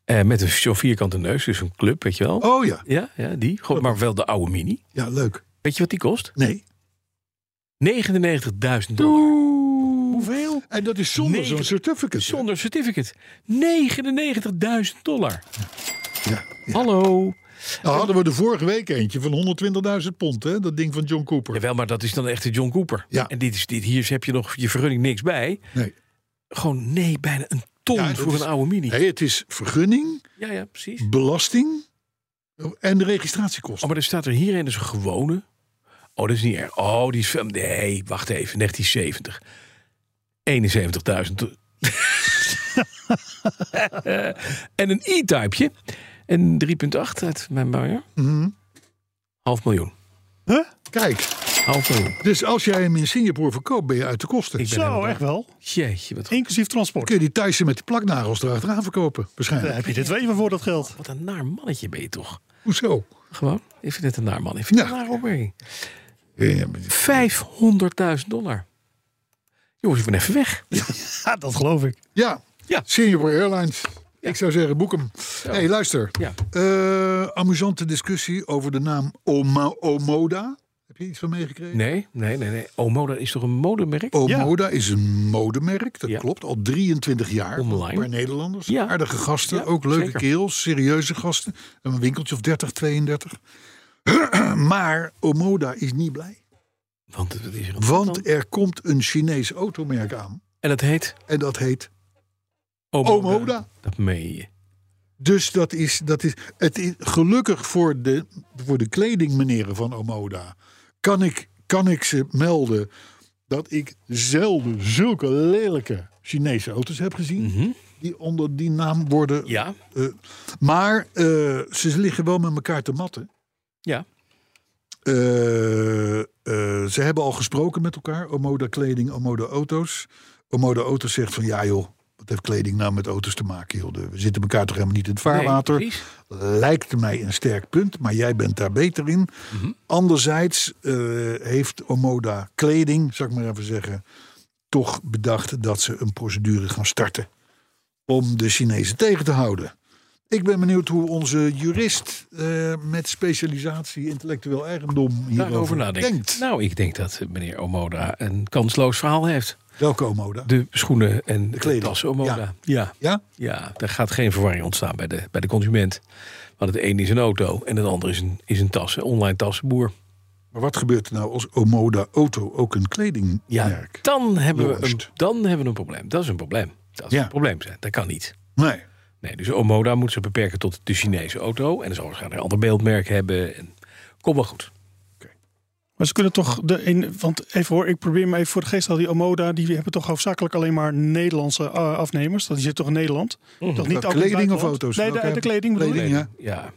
Eh, met een zo'n vierkante neus, dus een club, weet je wel. Oh ja. Ja, ja, die. Gewoon, maar wel de oude Mini. Ja, leuk. Weet je wat die kost? 99.000 Nee. dollar. Hoeveel? En dat is zonder Negen- zo'n certificate. Zonder certificate. 99.000 dollar. Ja. Hallo. Nou, hadden we de vorige week eentje van 120.000 pond, hè? Dat ding van John Cooper. Jawel, maar dat is dan echt de John Cooper. Ja. En dit is, dit, hier heb je nog je vergunning niks bij. Nee. Gewoon nee, bijna een ton Ja, dat voor is- een oude Mini. Nee, het is vergunning, Ja, ja, precies. belasting en de registratiekosten. Oh, maar er staat er hierin dus een gewone. Oh, dat is niet erg. Oh, die is veel. Nee, wacht even. 1970. 71.000. en een e-typeje. En 3,8 uit mijn buier. Mhm. Half miljoen. Oh. Kijk, Half miljoen. dus als jij hem in Singapore verkoopt, ben je uit de kosten. Ik ben Zo, helemaal echt wel. Jeetje, wat, Inclusief transport. Kun je die Thaisen met de plaknagels erachteraan verkopen? Daar Waarschijnlijk. heb je dit weer voor dat geld. wat een naar mannetje ben je toch? Hoezo? Gewoon. Ik vind het een naar man. Ik vind het een Nou. naar opmerking. Ja, maar- 500.000 dollar. Jongens, ik ben even weg. Ja, dat geloof ik. Ja, Ja. Singapore Airlines. Ik zou zeggen, boek hem. Hé, hey, luister. Ja. Eh, amusante discussie over de naam Oma- Omoda. Heb je iets van meegekregen? Nee, nee, nee. nee. Omo, dat is toch een modemerk? Omoda is een modemerk, dat Ja. klopt. Al 23 jaar. Online. Bij Nederlanders. Ja. Aardige gasten, Ja, ook leuke zeker. kerels, serieuze gasten. Een winkeltje of 30, 32. maar Omoda is niet blij. Want eh, wat is er aan de hand dan? Want er komt een Chinees automerk aan. En dat heet En dat heet Omoda. Omoda. Dat meen je. Dus dat is, dat is, het is gelukkig voor de, voor de kledingmeneren van Omoda. Kan ik, kan ik ze melden dat ik zelden zulke lelijke Chinese auto's heb gezien. Die onder die naam worden. Hm. Mhm. Ja, eh, maar eh, ze liggen wel met elkaar te matten. ja. Eh, eh, ze hebben al gesproken met elkaar. Omoda kleding, Omoda auto's. Omoda auto's zegt van ja joh. Wat heeft kleding nou met auto's te maken? Joh? De- We zitten elkaar toch helemaal niet in het vaarwater Nee, precies. lijkt mij een sterk punt, maar jij bent daar beter in. Mhm. Anderzijds eh, heeft Omoda Kleding, zal ik maar even zeggen, toch bedacht dat ze een procedure gaan starten om de Chinezen tegen te houden. Ik ben benieuwd hoe onze jurist eh, met specialisatie intellectueel eigendom Daarover hierover nadenken. denkt. Nou, ik denk dat eh, meneer Omoda een kansloos verhaal heeft. Welke Omoda? De schoenen en de, kleding. tassen Omoda. Ja. ja. Ja? Ja, daar gaat geen verwarring ontstaan bij de, bij de consument. Want het een is een auto en het ander is een, is een tas, een online tassenboer. Maar wat gebeurt er nou als Omoda Auto ook een kledingmerk? dan hebben, we een, Lost. dan hebben we een probleem. Dat is een probleem. Dat is Ja. een probleem zijn. Dat kan niet. Nee. Nee, dus Omoda moet ze beperken tot de Chinese auto. En ze zal waarschijnlijk een ander beeldmerk hebben. En... Kom wel goed. Maar ze kunnen toch de in, want even hoor, ik probeer me even voor de geest te halen. Die Omoda, die hebben toch hoofdzakelijk alleen maar Nederlandse eh, afnemers. Dat die zit toch in Nederland? Toch Mhm. Dat ook in het kleding of buitenland? auto's? Nee, de, Welke- de kleding bedoel ik. ja. Ja.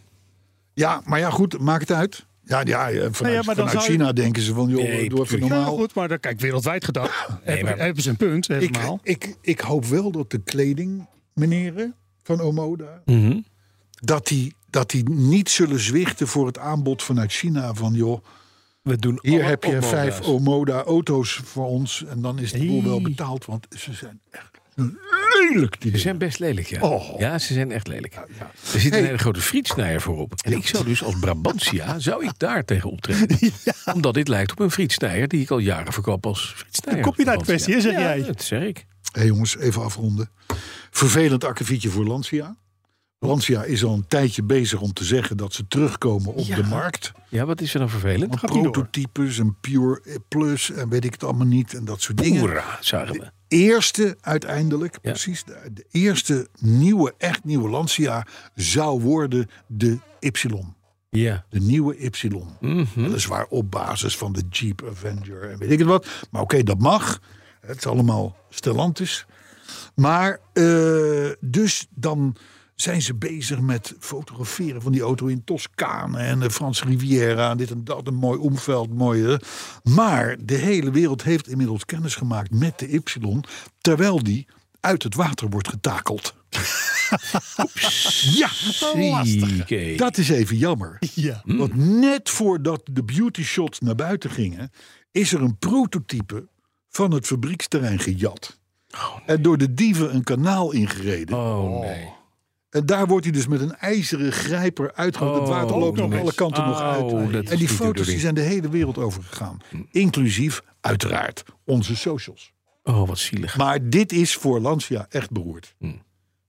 ja, maar ja, goed, maakt het uit. Ja, ja, ja, vanuit, maar dan vanuit zou je- China denken ze van, joh, Nee, doe even tuurlijk. Nou normaal. goed, maar dan, kijk, wereldwijd gedacht. hebben, maar- hebben ze een punt, ik, helemaal. ik, ik hoop wel dat de kleding, meneren, van Omoda... Mhm. dat, die, dat die niet zullen zwichten voor het aanbod vanuit China van... joh, We doen hier alle heb je Omoda's. vijf Omoda-auto's voor ons... en dan is de boel wel betaald, want ze zijn echt lelijk. Die Ze dingen. zijn best lelijk, ja. Oh. Ja, ze zijn echt lelijk. Er zit een hele grote frietsnijder voorop. En ik zou dus als Brabantia, zou ik daar tegen optreden. Omdat dit lijkt op een frietsnijder die ik al jaren verkoop als frietsnijder. Copyright Brabantia. kwestie, hè, zeg Ja, jij? dat zeg ik. Hé jongens, even afronden. Vervelend akkefietje voor Lancia. Lancia is al een tijdje bezig om te zeggen dat ze terugkomen op de markt. Ja, wat is er dan vervelend? Want prototypes en Pure Plus en weet ik het allemaal niet en dat soort dingen. Oera, zagen we. Eerste uiteindelijk, precies, de, de eerste nieuwe, echt nieuwe Lancia zou worden de Y. Ja. De nieuwe Y. Weliswaar op basis van de Jeep Avenger en weet ik het wat. Maar oké, dat mag. Het is allemaal Stellantis. Maar eh, dus dan zijn ze bezig met fotograferen van die auto in Toscane en de Franse Riviera. En dit en dat, een mooi omveld, mooi. eh. Maar de hele wereld heeft inmiddels kennis gemaakt met de Y. Terwijl die uit het water wordt getakeld. ja, Oké. dat is even jammer. Ja. Hm. Want net voordat de beauty shots naar buiten gingen, is er een prototype van het fabrieksterrein gejat. En door de dieven een kanaal ingereden. Oh nee. En daar wordt hij dus met een ijzeren grijper uitgehaald. het Oh, water loopt nog nee. alle kanten nog Oh, uit. dat is En die niet de foto's die bedoeling. zijn de hele wereld overgegaan. Inclusief, uiteraard, onze socials. Oh, wat zielig. Maar dit is voor Lancia echt beroerd. Hm.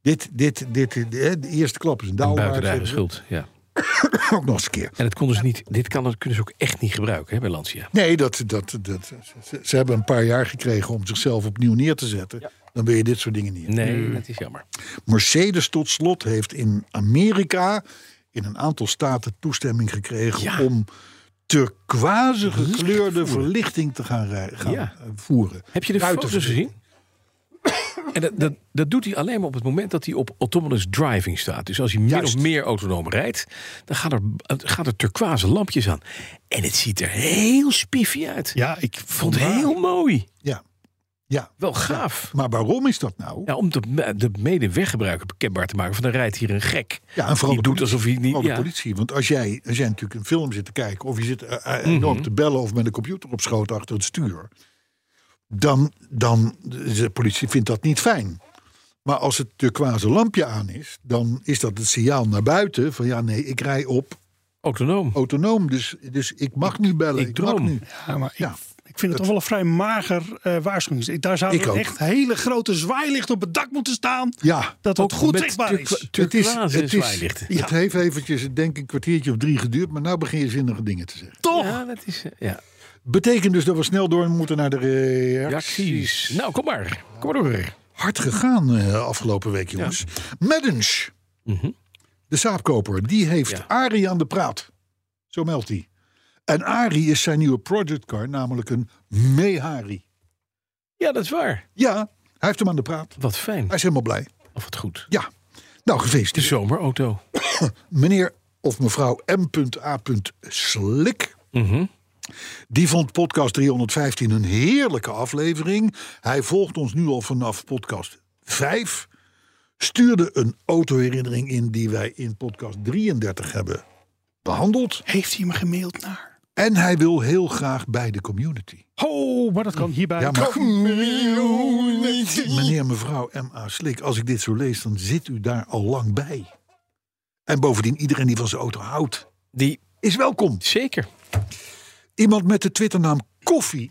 Dit, dit, dit, dit- hè, de eerste klap is een Buiten de eigen daalbaar. schuld, ja. Ook nog eens een keer. En het konden ze niet, dit kan, dat kunnen ze ook echt niet gebruiken hè, bij Lancia. Nee, dat, dat, dat, ze, ze hebben een paar jaar gekregen om zichzelf opnieuw neer te zetten. Dan wil je dit soort dingen niet. hebben. Nee, dat is jammer. Mercedes tot slot heeft in Amerika in een aantal staten toestemming gekregen Ja. om turquoise gekleurde verlichting te gaan, rij- gaan Ja. eh, voeren. Heb je de Ruiten foto's gezien? En dat, dat, dat doet hij alleen maar op het moment dat hij op autonomous driving staat. Dus als hij meer of Juist. meer autonoom rijdt, dan gaan er, het- gaan er turquoise lampjes aan. En het ziet er heel spiffy uit. Ja, ik Ik vond het heel mooi. Ja. ja, Wel gaaf. maar waarom is dat nou? Ja, om de, de medeweggebruiker bekendbaar te maken van er rijdt hier een gek. Ja, en vooral die de doet politie. alsof hij niet... Vooral de Ja, politie. Want als jij, als jij natuurlijk een film zit te kijken... of je zit eh, eh, enorm te bellen of met een computer op schoot achter het stuur... dan, dan de politie vindt dat niet fijn. Maar als het turquoise lampje aan is... dan is dat het signaal naar buiten van... ja, nee, ik rij op autonoom. autonoom. Dus, dus ik mag nu bellen. ik Ik, mag droom. nu. Ja, maar ik, Ja, ik vind het toch wel een vrij mager eh waarschuwing. Ik- Daar Ik zouden ook. echt hele grote zwaailichten op het dak moeten staan. Ja. Dat het goed met zichtbaar turqua- is. turquoise zwaailichten. Het heeft eventjes, denk ik, een kwartiertje of drie geduurd... maar nou begin je zinnige dingen te zeggen. Toch? Ja, dat is... eh, Ja. Betekent dus dat we snel door moeten naar de Reacties. Nou, kom maar. Kom maar door. hard gegaan eh, afgelopen week, jongens. Maddens, Mhm. de saapkoper, die heeft Ja. Arie aan de praat. Zo meldt hij. En Arie is zijn nieuwe projectcar, namelijk een Mehari. Ja, dat is waar. Ja, hij heeft hem aan de praat. Wat fijn. Hij is helemaal blij. Of wat goed. Ja. Nou, De gefeliciteerd. zomerauto. Meneer of mevrouw M.A. Slik. Mhm. Die vond podcast 315 een heerlijke aflevering. Hij volgt ons nu al vanaf podcast 5. Stuurde een autoherinnering in die wij in podcast 33 hebben behandeld. Heeft hij me gemaild naar? En hij wil heel graag bij de community. Ho, maar dat kan hierbij. Ja, maar- Meneer, mevrouw M.A. Slik, als ik dit zo lees, dan zit u daar al lang bij. En bovendien, iedereen die van zijn auto houdt, Die, is welkom. zeker. Iemand met de Twitternaam Koffie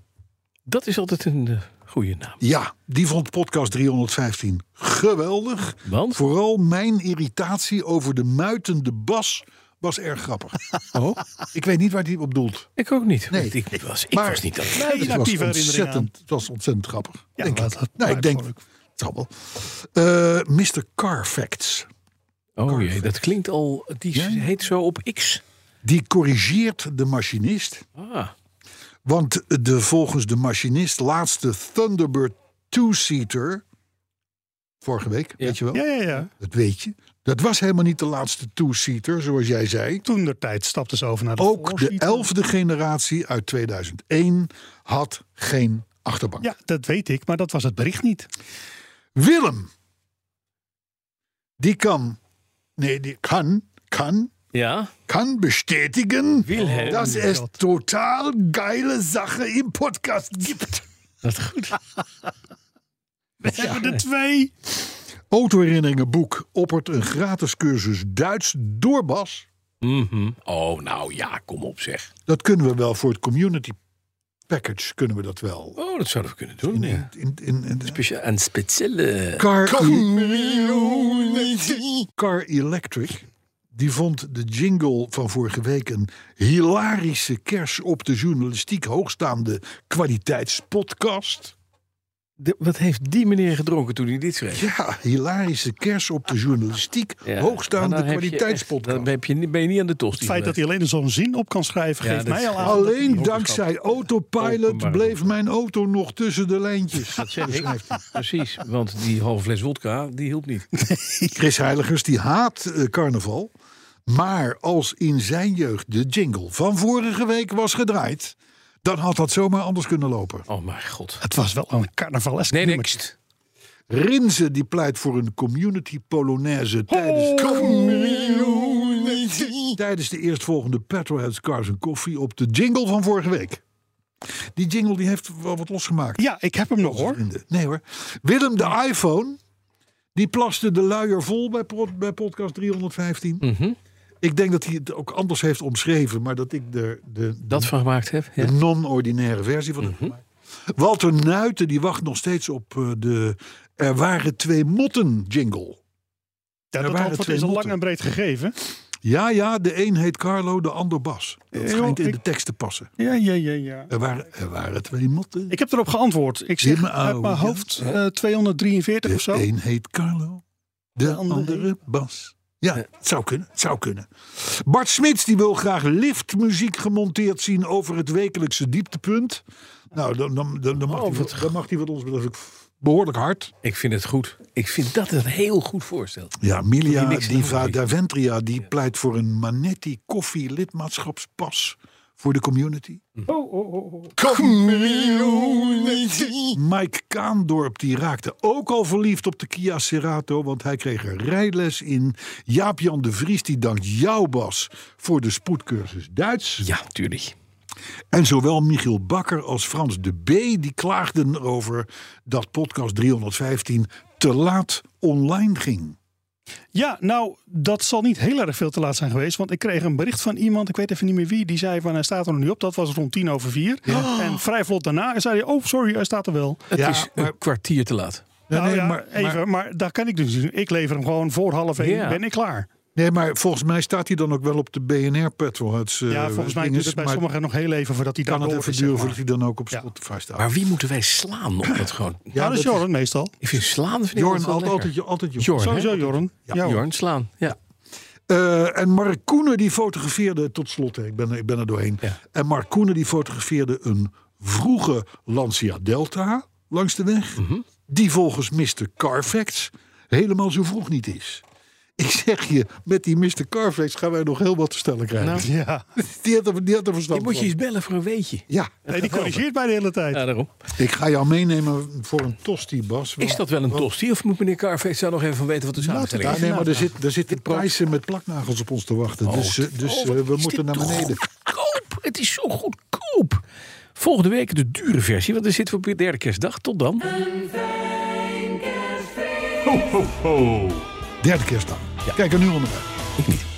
Dat is altijd een eh, goede naam. Ja, die vond podcast 315 geweldig. Want? Vooral mijn irritatie over de muitende bas was erg grappig. Oh, ik weet niet waar die op doelt. ik ook niet. Nee. want Ik was, ik Maar- was niet dat. Geen Het actieve was, herinnering aan. ontzettend, het was ontzettend grappig. Ja, denk maar ik. dat nou, ik maakt denk, gewoon het zal wel. Eh, Mr. Car Facts. Oh jee, dat klinkt al. Die Ja? heet zo op X. Die corrigeert de machinist. Ah, Want de volgens de machinist laatste Thunderbird two-seater. Vorige week, weet je wel? Ja, ja, ja. Dat weet je. Dat was helemaal niet de laatste two-seater, zoals jij zei. Toen der tijd stapten ze over naar de Ook de voorzitter. elfde generatie uit 2001 had geen achterbank. Ja, dat weet ik, maar dat was het bericht niet. Willem. Die kan. Nee, die kan. Kan. ja. Kann bestätigen, Wilhelm. dass Oh, es Gott. total geile Sache im Podcast gibt. Dat is goed. We hebben er twee. Autoherinneringenboek oppert een gratis cursus Duits door Bas. Mhm. Oh, nou ja, kom op zeg. Dat kunnen we wel voor het community package kunnen we dat wel. Oh, dat zouden we kunnen doen. In, Ja. in, in, in- Speciaal een speciale. Car, Car Electric. Die vond de jingle van vorige week een hilarische kers op de journalistiek hoogstaande kwaliteitspodcast. De- wat heeft die meneer gedronken toen hij dit schreef? Ja, hilarische kers op de journalistiek Ja, maar hoogstaande dan heb je echt- kwaliteitspodcast. Dan heb je, niet- ben je niet aan de tost. Het feit dat hij alleen zo'n zin op kan schrijven, Ja, geeft dat- mij al aan. dat hij Alleen ook- dankzij Autopilot Openbaar. bleef mijn auto nog tussen de lijntjes. Dat zeg ik. schrijft hij. Precies, want die halve fles wodka, die hielp niet. Chris Heiligers die haat eh, carnaval. Maar als in zijn jeugd de jingle van vorige week was gedraaid... dan had dat zomaar anders kunnen lopen. Oh mijn god. Het was wel een carnavalesk Nee, nummer. next. Rinze die pleit voor een community polonaise tijdens... Tijdens de eerstvolgende Petroheads Cars and Coffee op de jingle van vorige week. Die jingle die heeft wel wat losgemaakt. Ja, ik heb hem nog hoor. Vrienden. Nee hoor. Willem de iPhone. Die plaste de luier vol bij, pod- bij podcast 315. Mhm. Ik denk dat hij het ook anders heeft omschreven. Maar dat ik de, de, Dat van gemaakt heb. de Ja. Mhm. non-ordinaire versie van heb gemaakt. Walter Nuiten die wacht nog steeds op eh, de Er waren twee motten jingle. Ja, Er dat waren antwoord twee is al lang motten. en breed gegeven. Ja, ja, de een heet Carlo, de ander Bas. Dat Eh, schijnt joh, in ik- de tekst te passen. Ja, ja, ja, ja. Er waren, er waren twee motten. Ik heb erop geantwoord. Ik zeg Jim uit Ouwe, mijn ja. hoofd eh, 243 of De zo. een heet Carlo, de, andere, andere Bas. Ja, het zou kunnen, het zou kunnen. Bart Smits die wil graag liftmuziek gemonteerd zien over het wekelijkse dieptepunt. Nou, dan, dan, dan, dan, mag, Oh, hij, wat wel- dan mag hij wat ons betreft behoorlijk hard. Ik vind het goed. Ik vind dat een heel goed voorstel. Ja, Milia niks aan Diva doen. Daventria die pleit voor een Manetti koffie lidmaatschapspas voor de community. Community. Mike Kaandorp die raakte ook al verliefd op de Kia Cerato, want hij kreeg er rijles in. Jaap-Jan de Vries die dankt jou Bas voor de spoedcursus Duits. Ja, tuurlijk. En zowel Michiel Bakker als Frans de B. die klaagden erover dat podcast 315 te laat online ging. Ja, nou, dat zal niet heel erg veel te laat zijn geweest. Want ik kreeg een bericht van iemand, ik weet even niet meer wie, die zei van hij staat er nog niet op. Dat was rond tien over vier. En vrij vlot daarna zei hij, oh sorry, hij staat er wel. Het Ja, is maar- een kwartier te laat. nou nee, ja, maar- even, maar, daar kan ik dus niet doen. Ik lever hem gewoon voor half één, Ja. ben ik klaar. Nee, maar volgens mij staat hij dan ook wel op de BNR Petrolheads. eh, ja, volgens mij dinges, duurt het bij maar sommigen nog heel even voordat hij daar kan het door even is, zeg duren maar. voordat hij dan ook op Ja. Spotify staat. Maar wie moeten wij slaan op dat gewoon? Ja, Nou, dat is Jorn meestal. Ik vind slaan vind ik Jorn, altijd, altijd, wel lekker. altijd, altijd Jorn. Jorn, hè? Sowieso Jorn. Ja, hoor. Jorn slaan. Ja. Eh, en Mark Koenen die fotografeerde, tot slot, hè, ik ben, er- ik ben er doorheen. Ja. En Mark Koenen die fotografeerde een vroege Lancia Delta langs de weg. Mhm. Die volgens Mr. Carfax helemaal zo vroeg niet is. Ik zeg je, met die Mr. Carfax gaan wij nog heel wat te stellen krijgen. Ja. die, had er, die had er verstand Je moet je van. eens bellen voor een weetje. Ja, Nee, die corrigeert mij de hele tijd. Ja, daarom. ik ga jou meenemen voor een tosti, Bas. Is dat wel een tosti? Of moet meneer Carfax daar nog even van weten wat de samenstelling Ja, is? nee, maar er, zit, er zitten prijzen met plaknagels op ons te wachten. dus eh, dus Oh, eh, wat we is moeten dit naar toch beneden. Goedkoop! Het is zo goedkoop! Volgende week de dure versie, want dan zitten we op de derde kerstdag. Tot dan. Derde kerstdag. Kijk er nu onderuit. Ik niet.